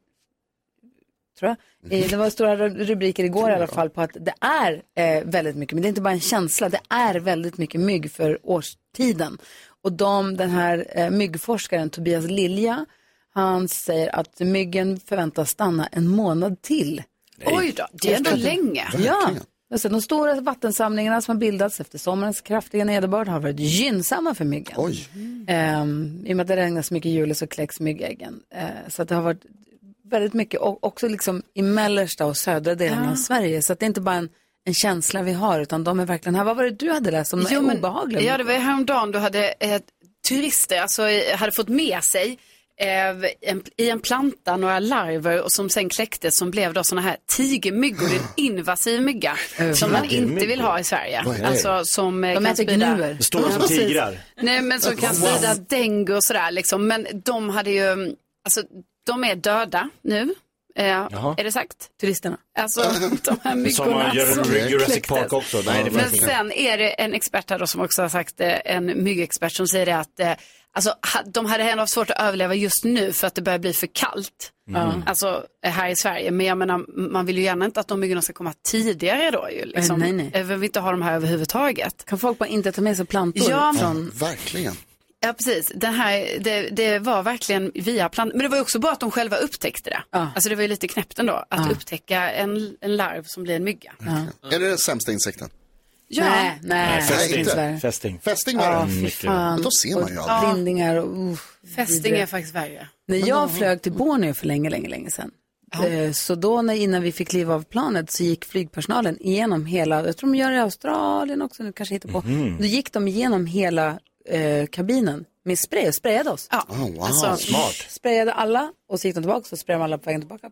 S1: Tror jag. Eh, Det var stora ru- rubriker igår i alla fall på att det är eh, väldigt mycket, men det är inte bara en känsla, det är väldigt mycket mygg för årstiden. Och de, den här eh, myggforskaren Tobias Lilja, han säger att myggen förväntas stanna en månad till.
S6: Oj då, det är ändå länge.
S1: Ja. Alltså, de stora vattensamlingarna som har bildats efter sommarens kraftiga nederbörd har varit gynnsamma för myggen.
S2: Oj.
S1: Ehm, I och med att det regnar så mycket i juli så kläcks myggäggen. Eh, så att det har varit väldigt mycket, och också liksom i mellersta och södra delarna
S6: Ja.
S1: av Sverige. Så att det är inte bara en, en känsla vi har, utan de är verkligen här. Vad var det du hade läst om?
S6: Jo,
S1: Jo,
S6: men-
S1: obehagliga
S6: Ja, det var ju häromdagen du hade eh, turister, alltså eh, hade fått med sig eh, en, i en planta några larver och som sen kläcktes som blev då sådana här tigermyggor, en invasiv mygga
S1: Eh,
S6: som man
S1: tigermyggor?
S6: inte vill ha i Sverige.
S1: Vad är det?
S6: Alltså som eh,
S1: De
S6: kan
S1: äter
S6: sprida...
S1: gnuer.
S3: Står de
S6: Ja,
S3: som
S6: precis.
S3: tigrar? Alltså,
S6: Nej, men som kan
S3: Wow.
S6: sprida dengue och sådär liksom. Men de hade ju, alltså de är döda nu. Eh,
S3: Jaha.
S6: är det sagt?
S1: Turisterna.
S6: Alltså de här
S3: Som
S6: myggorna.
S3: man gör i Jurassic Park också. Nej, det
S6: Men
S3: finns inte.
S6: sen är det en expert här då som också har sagt, eh, en myggexpert som säger det att eh, alltså, ha- de hade ändå haft svårt att överleva just nu för att det börjar bli för kallt.
S1: Mm.
S6: Alltså eh, här i Sverige. Men jag menar, man vill ju gärna inte att de myggorna ska komma tidigare då ju. Liksom.
S1: nej, nej.
S6: Eh, Vi vill inte ha de här överhuvudtaget.
S1: Kan folk bara inte ta med sig plantor
S6: Ja, men-
S1: från...
S2: Verkligen.
S6: Ja, precis. Det, här, det, det var verkligen via plan... Men det var ju också bra att de själva upptäckte det. Alltså det var ju lite knäppt ändå, att upptäcka en, en larv som blir en mygga.
S2: Är det den sämsta insekten?
S6: Ja.
S1: Nej, nej.
S2: fästing.
S1: inte Sverige.
S3: Fästing.
S2: Fästing var
S1: Ja,
S2: det.
S1: fy fan.
S2: Men då ser man ju aldrig.
S1: Och blindingar och... Uh,
S6: Fästing är faktiskt värre.
S1: När jag flög till Borneo för länge, länge, länge sedan. eh, Så då när, innan vi fick kliva av planet så gick flygpersonalen igenom hela, jag tror de gör det i Australien också, nu kanske jag hittar på. Då gick de igenom hela eh, kabinen med spray och sprayade oss.
S6: Ja.
S2: Oh, wow.
S3: Smart.
S1: Sprayade alla och så gick de tillbaka och så sprayade de alla på vägen tillbaka.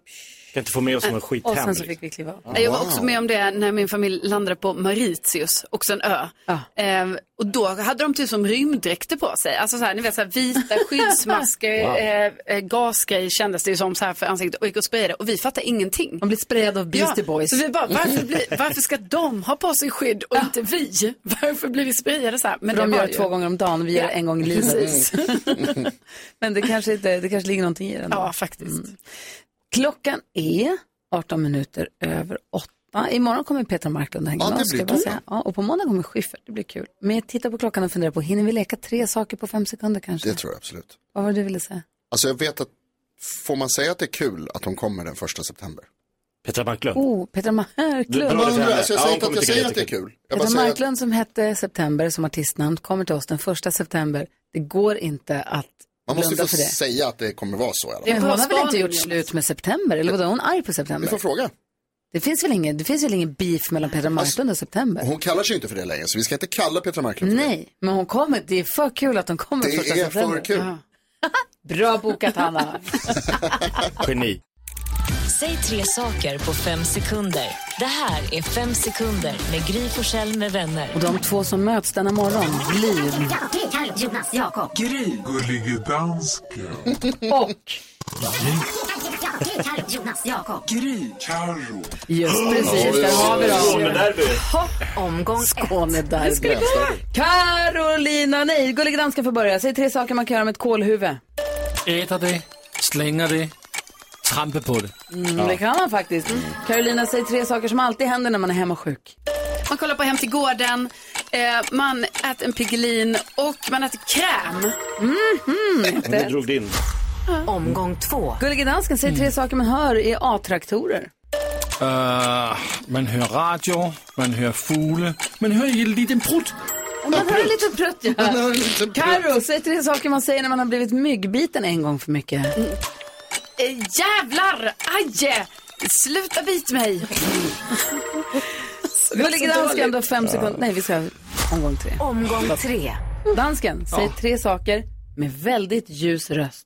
S3: Kan inte få med oss någon
S1: Och sen
S3: skithemd.
S1: så
S3: liksom.
S1: fick vi kliva av.
S6: Nej, Jag var
S2: Wow.
S6: också med om det när min familj landade på Mauritius, också en ö.
S1: Ja.
S6: Ehm, och då hade de typ som rymddräkter på sig. Alltså så här, ni vet så här vita skyddsmasker, eh, eh, gasgrej kändes det ju som så här för ansiktet och gick och sprayade och vi fattade ingenting.
S1: Man blir sprayad av Beastie Boys.
S6: Så vi bara, varför, blir, varför ska de ha på sig skydd och inte vi? Varför blir vi sprayade så här? Men
S1: För de
S6: var
S1: gör det
S6: ju-
S1: två gånger om dagen och vi gör det en gång i livet. Mm. Men det kanske, inte, det kanske ligger någonting i den.
S6: Ja, faktiskt.
S1: Mm. Klockan är 18 minuter över 8. Imorgon kommer Petra Marklund och hänga
S2: Ja,
S1: med
S2: det
S1: oss. ska
S2: blir
S1: jag bara
S2: toppen.
S1: säga. Ja, och på måndag kommer Schyffert, det blir kul. Men jag tittar på klockan och funderar på, hinner vi leka tre saker på fem sekunder kanske?
S2: Det tror jag absolut.
S1: Vad var det du ville säga?
S2: Alltså jag vet att, får man säga att det är kul att de kommer den första september?
S3: Petra Marklund.
S1: Oh, Petra
S3: Du-
S1: Marklund.
S3: du-
S2: Jag undrar, alltså jag
S3: Ja,
S2: säger
S3: hon
S2: inte att
S3: kommer
S2: jag
S3: tycka
S2: säger
S3: det är
S2: att det är
S3: jättekul.
S2: kul. Jag bara
S1: Petra
S2: säger att,
S1: Marklund som hette September som artistnamn kommer till oss den första september. Det går inte att
S2: man måste ju
S1: blunda
S2: få
S1: för det.
S2: säga att det kommer vara så i alla fall.
S6: Det är
S1: Men hon har
S6: bra
S1: väl inte
S6: spaning,
S1: gjort
S6: Jonas.
S1: slut med september? Eller vadå, hon är arg på
S2: Vi
S1: september?
S2: får Alltså, fråga.
S1: Det finns väl ingen, det finns väl ingen beef mellan Petra Marklund och
S2: Och
S1: september?
S2: Hon kallar sig ju inte för det längre, så vi ska inte kalla Petra Marklund för
S1: Nej, men hon kommer, det är för kul att hon kommer
S2: det.
S1: första
S2: Det är
S1: september.
S2: för kul.
S1: Bra bokat Hanna.
S3: Geni.
S11: Säg tre saker på fem sekunder. Det här är Fem sekunder med Gry Forssell med vänner.
S1: och de två som möts denna morgon blir
S11: Jonas, Jakob.
S12: Gullige dansken.
S1: och
S11: Jonas, Jakob.
S12: Gry. Carro.
S1: just precis, där har vi dem.
S3: Skånederby.
S11: Omgång ett.
S1: Skånederby. Carolina, nej, Gullige Dansken får börja. Säg tre saker man kan göra med ett kolhuvud. Mm,
S7: Äter det, slänger det, trampar på det.
S1: Mm, det kan man faktiskt. Carolina, säg tre saker som alltid händer när man är hemma sjuk.
S6: Man kollar på Hem till gården, eh, man äter en Piggelin och man äter kräm.
S3: Du drog din.
S11: Omgång två.
S1: Gullige Dansken, säg
S2: Mm.
S1: tre saker man hör i A-traktorer.
S7: Øh, man hör radio, man hör fåglar, man hör en liten prutt.
S1: Man hör en liten prutt, ja.
S2: Det är en liten prutt.
S1: Carro, säg tre saker man säger när man har blivit myggbiten en gång för mycket.
S6: Eh, jävlar! Aj! Sluta bit mig!
S1: Gullige dansken, då fem sekunder. Nej, vi ska omgång tre.
S11: Omgång tre.
S1: Dansken, säg tre saker med väldigt ljus röst.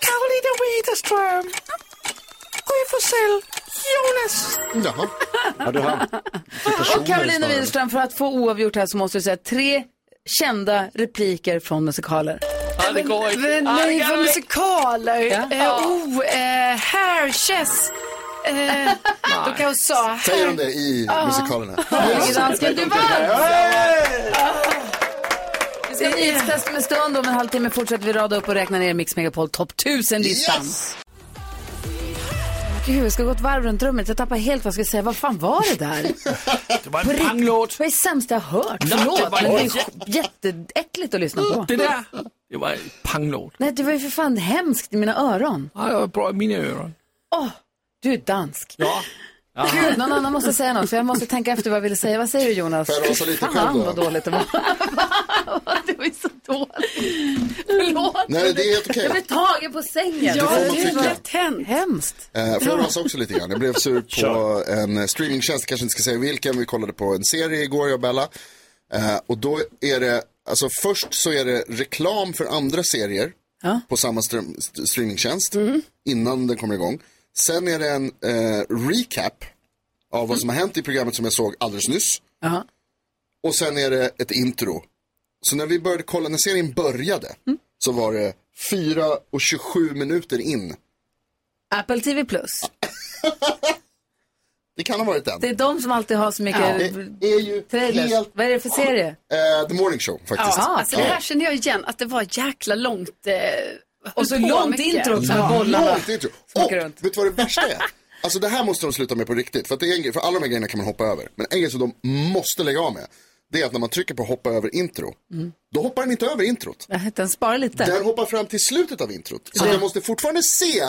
S7: Karolina Widerström, Gry Forssell, Jonas.
S2: Jaha.
S3: Ja, du hann.
S1: Och Karolina
S2: snarare.
S1: Widerström, för att få oavgjort här så måste du säga tre kända repliker från musikaler.
S13: Ja, det går inte.
S6: Men nej, vad musikaler!
S1: Ja.
S6: Eh, oh, eh, hair, chess. Eh, då kan jag sa...
S2: Säger de det i musikalerna?
S1: Gullige dansken, du vann! Vi ska ha nyhetstest om en stund. Om en halvtimme fortsätter vi rada upp och räkna ner Mix Megapol topp 1000-listan.
S2: Yes!
S1: Gud, jag ska gå ett varv runt rummet. Jag tappar helt vad jag ska säga. Vad fan var det där?
S7: Det var
S1: På
S7: en
S1: riktigt.
S7: panglåt.
S1: Vad är det sämsta jag hört?
S7: Nej, det
S1: Förlåt,
S7: var
S1: men det är
S7: inte-
S1: sj- jätteäckligt att lyssna på.
S7: Det där, det var en panglåt.
S1: Nej, det var ju för fan hemskt i mina öron.
S7: Ja, det var bra i mina öron.
S1: Åh, du är dansk.
S7: Ja.
S1: Gud, någon annan måste säga något, för jag måste tänka efter vad jag ville säga. Vad säger du Jonas?
S2: Får jag rasa lite själv
S1: Fan,
S2: då?
S1: vad dåligt det var.
S6: Det var ju så dåligt. Förlåt.
S1: Mm.
S2: Nej, det är helt okej.
S1: Jag blev tagen på sängen.
S6: Ja,
S2: får man
S6: det
S2: tycka.
S6: är lätt hänt.
S1: Hemskt.
S2: Eh, Får jag rasa också lite grann? Jag blev sur på en eh, streamingtjänst, kanske inte ska säga vilken. Vi kollade på en serie igår, jag och Bella. Eh, och då är det, alltså först så är det reklam för andra serier på samma ström, st- streamingtjänst innan den kommer igång. Sen är det en eh, recap av vad som har hänt i programmet som jag såg alldeles nyss.
S1: Ja.
S2: Och sen är det ett intro. Så när vi började kolla, när serien började så var det 4 och 27 minuter in.
S1: Apple TV Plus.
S2: Det kan ha varit den.
S1: Det är de som alltid har så mycket
S2: Det är ju
S1: trailers.
S2: helt
S1: Vad är det för serie?
S2: eh, The Morning Show faktiskt.
S1: Ja.
S6: Alltså det här kände jag igen, att det var jäkla långt. Eh, höll
S1: Och så
S6: på
S1: långt
S6: mycket.
S1: intro också med
S2: Ja,
S1: bollarna.
S2: långt intro.
S1: Som
S2: typ- Och
S1: åker
S2: vet
S1: runt.
S2: du vad det värsta är? Alltså det här måste de sluta med på riktigt. För, att det är en grej, för alla de här grejerna kan man hoppa över. Men en grej som de måste lägga av med. det är att när man trycker på hoppa över intro, då hoppar den inte över introt.
S1: Nej, Den sparar lite.
S2: Den hoppar fram till slutet av introt. Så
S1: Ja.
S2: jag måste fortfarande se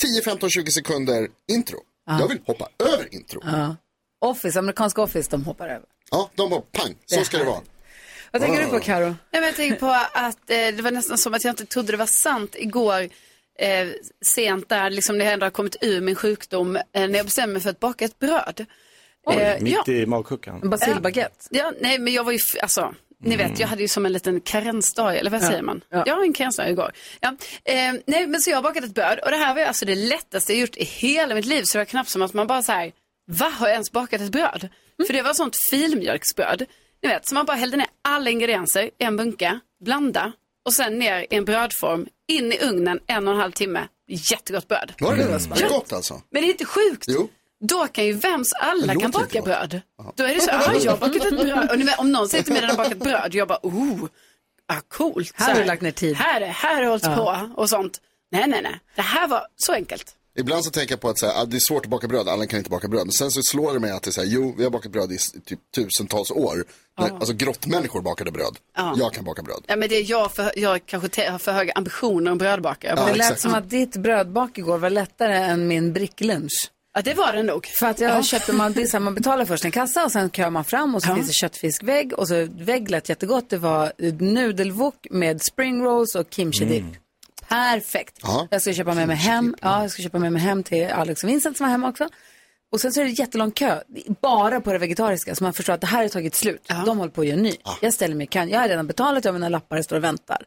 S2: 10, 15, 20 sekunder intro.
S1: Ja.
S2: Jag vill hoppa över intro.
S1: Ja. Office, amerikanska Office, de hoppar över.
S2: Ja, de bara pang, så ska det vara.
S1: Vad tänker du på Karo?
S6: Nej, men jag tänker på att eh, det var nästan som att jag inte trodde det var sant igår. Eh, sent där, liksom när jag ändå har kommit ur min sjukdom, eh, när jag bestämde mig för att baka ett bröd.
S3: Oj,
S6: Eh,
S3: mitt
S6: ja.
S3: i magkuckan.
S1: Basilbaguette?
S6: Ja, nej, men jag var ju, f- alltså, ni vet, jag hade ju som en liten karensdag, eller vad
S1: Ja,
S6: säger man?
S1: ja.
S6: Ja, en karensdag igår. Ja. Eh, nej, men så jag har bakat ett bröd och det här var ju alltså det lättaste jag gjort i hela mitt liv, så det var knappt som att man bara så här, va, har jag ens bakat ett bröd? För det var sånt filmjölksbröd, ni vet, så man bara hällde ner alla ingredienser i en bunke, blanda och sen ner i en brödform, in i ugnen en och en halv timme. Jättegott bröd.
S2: Var
S1: Mm.
S2: det det? Det är gott alltså.
S6: Men det är inte sjukt.
S2: Jo.
S6: Då kan ju vems,
S2: Det
S6: alla
S2: låter
S6: kan
S2: inte
S6: baka
S2: gott.
S6: bröd. Då är det så, ah, jag har bakat ett bröd. Och ni vet, om någon säger till mig att den har bakat bröd, jag bara, oh, ah, coolt.
S1: Här
S6: Så
S1: har du lagt ner tid.
S6: Här, är- här har jag hållit
S1: Ja.
S6: på och sånt. Nej, nej, nej. Det här var så enkelt.
S2: Ibland så tänker jag på att så här, ah, det är svårt att baka bröd, alla kan inte baka bröd. Men sen så slår det mig att det är så här, jo, vi har bakat bröd i s- typ tusentals år. När, Alltså grottmänniskor bakade bröd.
S6: Ja.
S2: Jag kan baka bröd.
S6: Ja, men det är jag, för, jag kanske te- har för höga ambitioner om brödbakare. Jag
S1: det
S6: bara,
S1: lät som att ditt brödbak igår var lättare än min bricklunch.
S6: Ja, det var det nog.
S1: För att jag köpte, man, det är så här, man betalar först en kassa och sen kör man fram och så finns det köttfiskvägg och så vägg lät jättegott. Det var eh, nudelwok med spring rolls och kimchi dip. Perfekt.
S10: Ja.
S1: Jag ska köpa med mig hem. Ja, jag ska köpa med mig hem till Alex och Vincent som var hemma också. Och sen så är det jättelång kö, bara på det vegetariska, så man förstår att det här har tagit slut. De håller på att göra ny. Jag ställer mig i kön, jag har redan betalat, jag har mina lappar, jag står och väntar.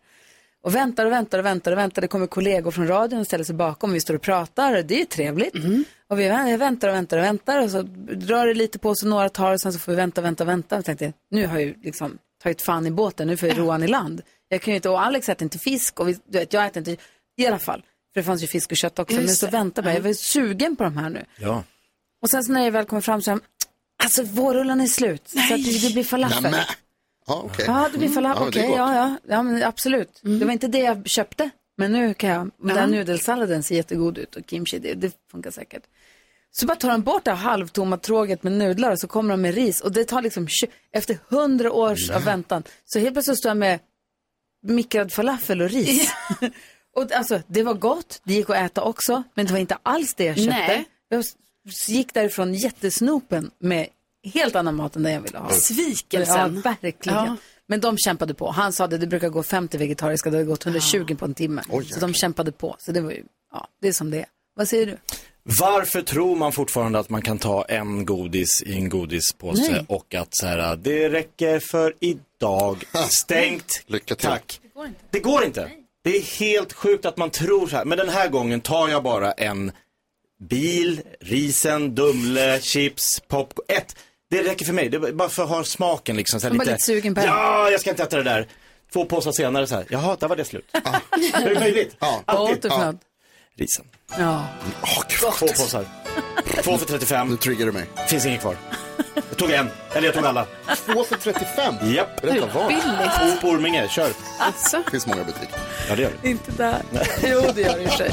S1: Och väntar och väntar och väntar och väntar. Det kommer kollegor från radion och ställer sig bakom. Vi står och pratar och det är ju trevligt.
S10: Mm.
S1: Och vi vä- jag väntar och väntar och väntar och så rör det lite på sig, några tar och sen så får vi vänta, vänta, vänta. Jag tänkte, nu har jag ju liksom tagit fan i båten, nu får jag roan i land. Jag kan ju inte, och Alex äter inte fisk och vi, du vet, jag äter inte, i alla fall. För det fanns ju fisk och kött också.
S10: Just
S1: men så
S10: det.
S1: väntar jag, jag
S10: Mm.
S1: var ju sugen på de här nu.
S3: Ja.
S1: Och sen så när jag väl kommer fram så är jag, alltså vårrullen är slut. Så att det, det blir falafel.
S2: Nämen. Ja, okej. Mm.
S1: Ja, det blir falafel.
S2: Ja, men det är
S1: Okej,
S2: gott.
S1: ja, ja. ja men absolut. Det var inte det jag köpte, men nu kan jag. Den här nudelsalladen ser jättegod ut och kimchi, det, det funkar säkert. Så bara tar de bort det här halvtomma tråget med nudlar och så kommer de med ris. Och det tar liksom, tju- efter hundra års av väntan, så helt plötsligt står jag med mikrad falafel och ris. och alltså, det var gott, det gick att äta också, men det var inte alls det jag köpte.
S6: Nej.
S1: Jag s- gick därifrån jättesnopen med helt annan mat än den jag ville ha.
S6: Svikelsen.
S1: Ja, verkligen.
S6: Ja.
S1: Men de kämpade på. Han sa att det brukar gå 50 vegetariska, det har gått 120 på en timme. så de kämpade på. Så det var ju, ja, det är som det är. Vad säger du?
S3: Varför tror man fortfarande att man kan ta en godis i en godispåse
S1: Nej.
S3: och att så här, det räcker för idag, stängt,
S2: Lycka
S3: till. tack. Det går inte. Det är helt sjukt att man tror så här, men den här gången tar jag bara en bil, risen, Dumle, chips, popcorn, ett. Det räcker för mig, det är bara för att ha smaken liksom. Så här,
S1: Man bara lite sugen på det.
S3: Ja, jag ska inte äta det där. Två påsar senare så här, jaha, där var det slut. Hur är det möjligt?
S1: Vad
S3: Alltid.
S1: åt du för något?
S3: Risen.
S1: Ja.
S3: Två påsar. Två för 35. Nu
S2: triggar du mig.
S3: Finns ingen kvar. Jag tog en. Eller jag tog alla.
S2: Två för 35?
S3: Japp.
S2: Berätta var.
S3: Billigt. På Orminge. Kör.
S6: Alltså.
S2: Det finns många butiker.
S3: Ja, det gör det.
S1: Inte där. jo, det gör det i och för sig.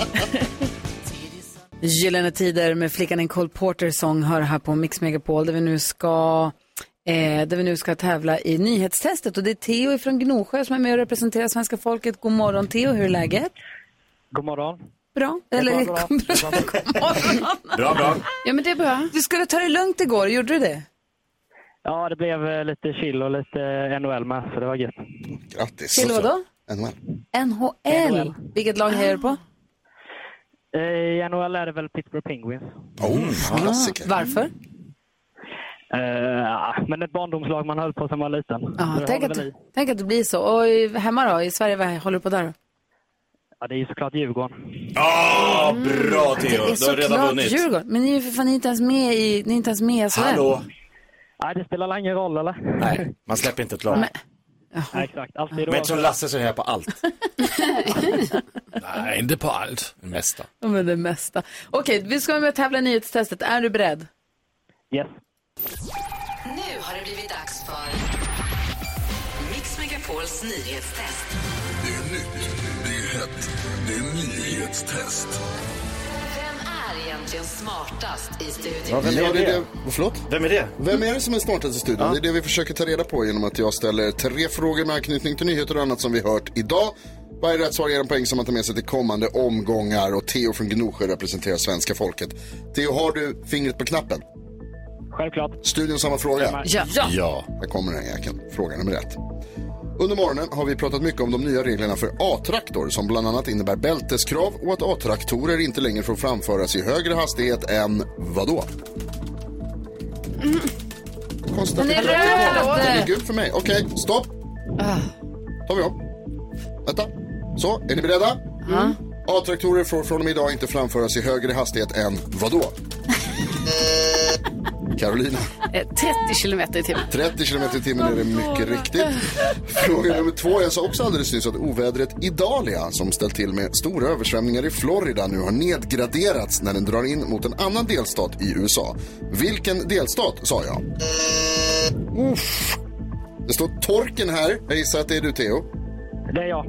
S1: Gyllene Tider med flickan en Cole Porter-sång hör här på Mix Megapol där vi nu ska Eh, där vi nu ska tävla i nyhetstestet och det är Theo från Gnosjö som är med och representerar svenska folket. God morgon Theo, hur är läget?
S14: God morgon.
S1: Bra? Eller,
S14: bra,
S3: Bra, bra.
S6: Ja, men det är bra.
S1: Du skulle ta det lugnt igår, gjorde du det?
S14: Ja, det blev eh, lite chill och lite eh, NHL med, så det var gött.
S2: Grattis.
S1: Till vadå?
S2: NHL.
S1: NHL. Vilket lag hejar du på?
S14: Eh, I NHL är det väl Pittsburgh Penguins.
S2: Oh, klassiker.
S1: Varför?
S14: Eh, ja, men ett barndomslag man höll på som var liten.
S1: Ja,
S14: Så det
S1: tänk,
S14: håller
S1: att,
S14: väl i.
S1: tänk att det blir så. Och i- hemma då, i Sverige, vad håller du på där då?
S14: Ja, det är ju såklart Djurgården.
S3: Ja, bra
S1: Det
S3: Theo.
S1: är
S3: Du har redan
S1: såklart
S3: vunnit.
S1: Djurgården. Men ni är ju för fan inte ens med i, ni är inte ens med i SHL.
S3: Hallå.
S14: Nej, det spelar väl ingen roll, eller?
S3: Nej, man släpper inte ett lag.
S1: Men-
S14: Nej, exakt. Alltid
S3: Men
S14: då.
S3: eftersom Lasse så är jag på allt.
S7: Nej, inte på allt.
S3: Det mesta.
S1: Ja, men det mesta. Okej, vi ska vara med och tävla i nyhetstestet. Är du beredd?
S14: Yes.
S11: Nu har det blivit dags för Mix Megapols nyhetstest.
S8: Det är nytt, det är hett, det är nyhetstest.
S11: Vem är
S15: egentligen smartast i studion?
S2: Ja, vem är det? det förlåt?
S3: Vem är det?
S2: Vem är det som är smartast i studion? Det är det vi försöker ta reda på genom att jag ställer tre frågor med anknytning till nyheter och annat som vi hört idag. Varje rätt svar ger en poäng som man tar med sig till kommande omgångar och Theo från Gnosjö representerar svenska folket. Theo, har du fingret på knappen?
S14: Självklart.
S2: Studion samma fråga?
S14: Ja. Ja.
S2: Här kommer den jäkeln. Fråga nummer ett. Under morgonen har vi pratat mycket om de nya reglerna för A-traktor som bland annat innebär bälteskrav och att A-traktorer inte längre får framföras i högre hastighet än vadå?
S1: Den är röd!
S2: Den är gul för mig. Okej, stopp. tar vi om. Vänta. Så, är ni beredda? A-traktorer får från och med idag inte framföras i högre hastighet än vadå? Carolina.
S6: Eh, 30 kilometer i timmen.
S2: 30 km i timmen är det mycket riktigt. Fråga nummer två. Jag sa också alldeles nyss att ovädret Idalia som ställt till med stora översvämningar i Florida nu har nedgraderats när den drar in mot en annan delstat i USA. Vilken delstat sa jag? Uff. Det står Torken här. Jag gissar att det är du, Theo.
S14: Det är jag.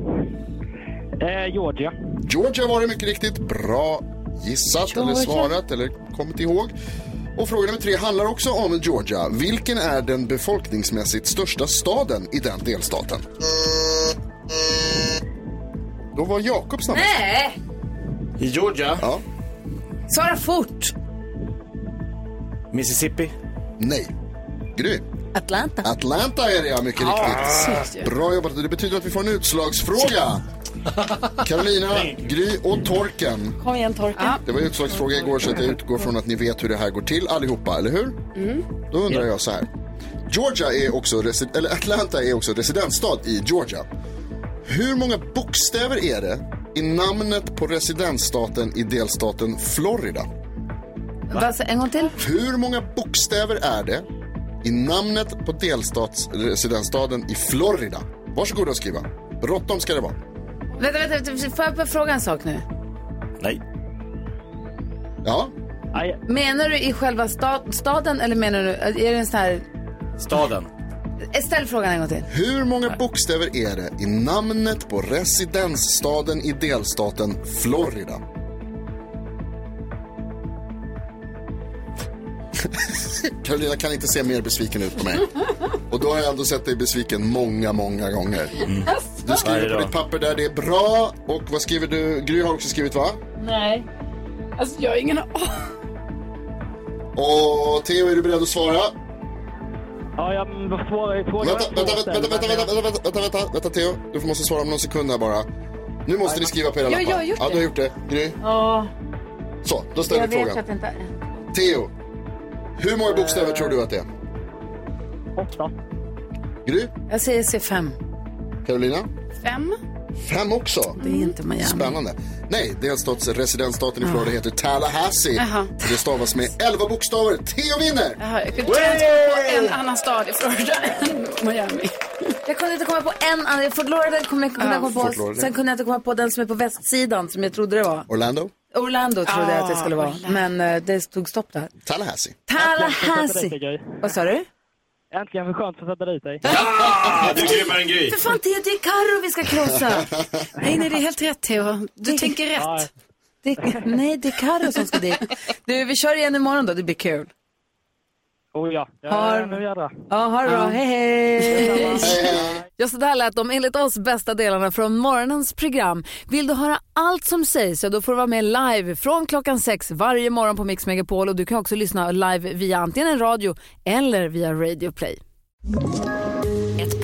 S14: Eh, Georgia.
S2: Georgia var det mycket riktigt. Bra gissat eller
S14: Georgia.
S2: svarat eller kommit ihåg. Och fråga nummer tre handlar också om Georgia. Vilken är den befolkningsmässigt största staden i den delstaten? Då var Jakob snabbast.
S1: Nej!
S3: I Georgia?
S2: Ja.
S1: Svara fort!
S3: Mississippi?
S2: Nej. Gry?
S1: Atlanta.
S2: Atlanta är det ja, mycket
S1: Ah,
S2: riktigt. Bra jobbat. Det betyder att vi får en utslagsfråga. Carolina, Gry och Torken.
S1: Kom igen torka.
S2: Det var utslagsfråga igår så att jag utgår från att ni vet hur det här går till allihopa, eller hur?
S1: Mm.
S2: Då undrar jag så här. Georgia är också, resi- eller Atlanta är också residensstad i Georgia. Hur många bokstäver är det i namnet på residensstaten i delstaten Florida?
S1: Va, så en gång till.
S2: Hur många bokstäver är det i namnet på delstatsresidensstaden i Florida? Varsågoda och skriva. Bråttom ska det vara.
S1: Vänta, vänta, vänta, får jag bara fråga en sak nu?
S3: Nej.
S2: Ja.
S1: Menar du i själva sta- staden eller menar du, är det en sån här, eh,
S3: Staden.
S1: ställ frågan en gång till.
S2: Hur många bokstäver är det i namnet på residensstaden i delstaten Florida? Carolina kan inte se mer besviken ut på mig. Och då har jag ändå sett dig besviken många, många gånger. Du skriver
S3: Mm. Varje
S2: på
S3: dag.
S2: ditt papper där, det är bra. Och vad skriver du? Gry har också skrivit va?
S6: Nej. Alltså jag har ingen aning.
S2: Och Theo, är du beredd att svara?
S14: Ja, jag svarar på
S2: Vänta, vänta, vänta, vänta, vänta, vänta, vänta, vänta, vänta, vänta, vänta, Theo. Du måste svara om någon sekund här bara. Nu måste ni skriva på era
S1: Ja,
S2: lappar.
S1: jag har gjort
S2: ja, du har
S1: det.
S2: gjort det. Gry?
S1: Ja,
S2: Så, då ställer
S1: jag
S2: vi
S1: vet
S2: frågan.
S1: att det inte... Eh.
S2: Theo, hur många bokstäver tror du att det är?
S14: Åtta.
S2: Gry?
S1: Jag säger C5.
S2: Carolina?
S6: Fem.
S2: Fem också?
S1: Det är inte Miami.
S2: Spännande. Nej, delstats residensstaten i
S1: Ah.
S2: Florida heter Tallahassee.
S6: Jaha.
S2: Det stavas med elva bokstäver. Theo vinner!
S6: Jaha, jag kunde inte ens på en annan stad i Florida än Miami.
S1: Jag kunde inte komma på en annan, Fort Lauderdale kunde jag kunde jag komma
S2: Fort
S1: på,
S2: Lauderdale.
S1: sen kunde jag inte komma på den som är på västsidan som jag trodde det var.
S2: Orlando?
S1: Orlando trodde jag att det skulle vara,
S6: Orlando.
S1: men eh, det tog stopp där.
S2: Tallahassee.
S1: Tallahassee. Vad sa du?
S14: Äntligen för skönt att sätta dit dig.
S3: Ah, du är grymmare än Gry.
S1: För fan, det är Carro vi ska krossa.
S6: Nej, nej, det är helt rätt Theo. Du tänker rätt.
S1: Det, nej, det är Carro som ska dit. Du, vi kör igen imorgon då, det blir kul.
S14: Oh ja. Jag
S1: Har-
S14: är nu jädra.
S1: Ja, ha det bra. Hej, hej.
S10: Ja, så där lät de enligt oss bästa delarna från morgonens program. Vill du höra allt som sägs så då får du vara med live från klockan sex varje morgon på Mix Megapol och du kan också lyssna live via antingen en radio eller via Radio Play.
S11: Ett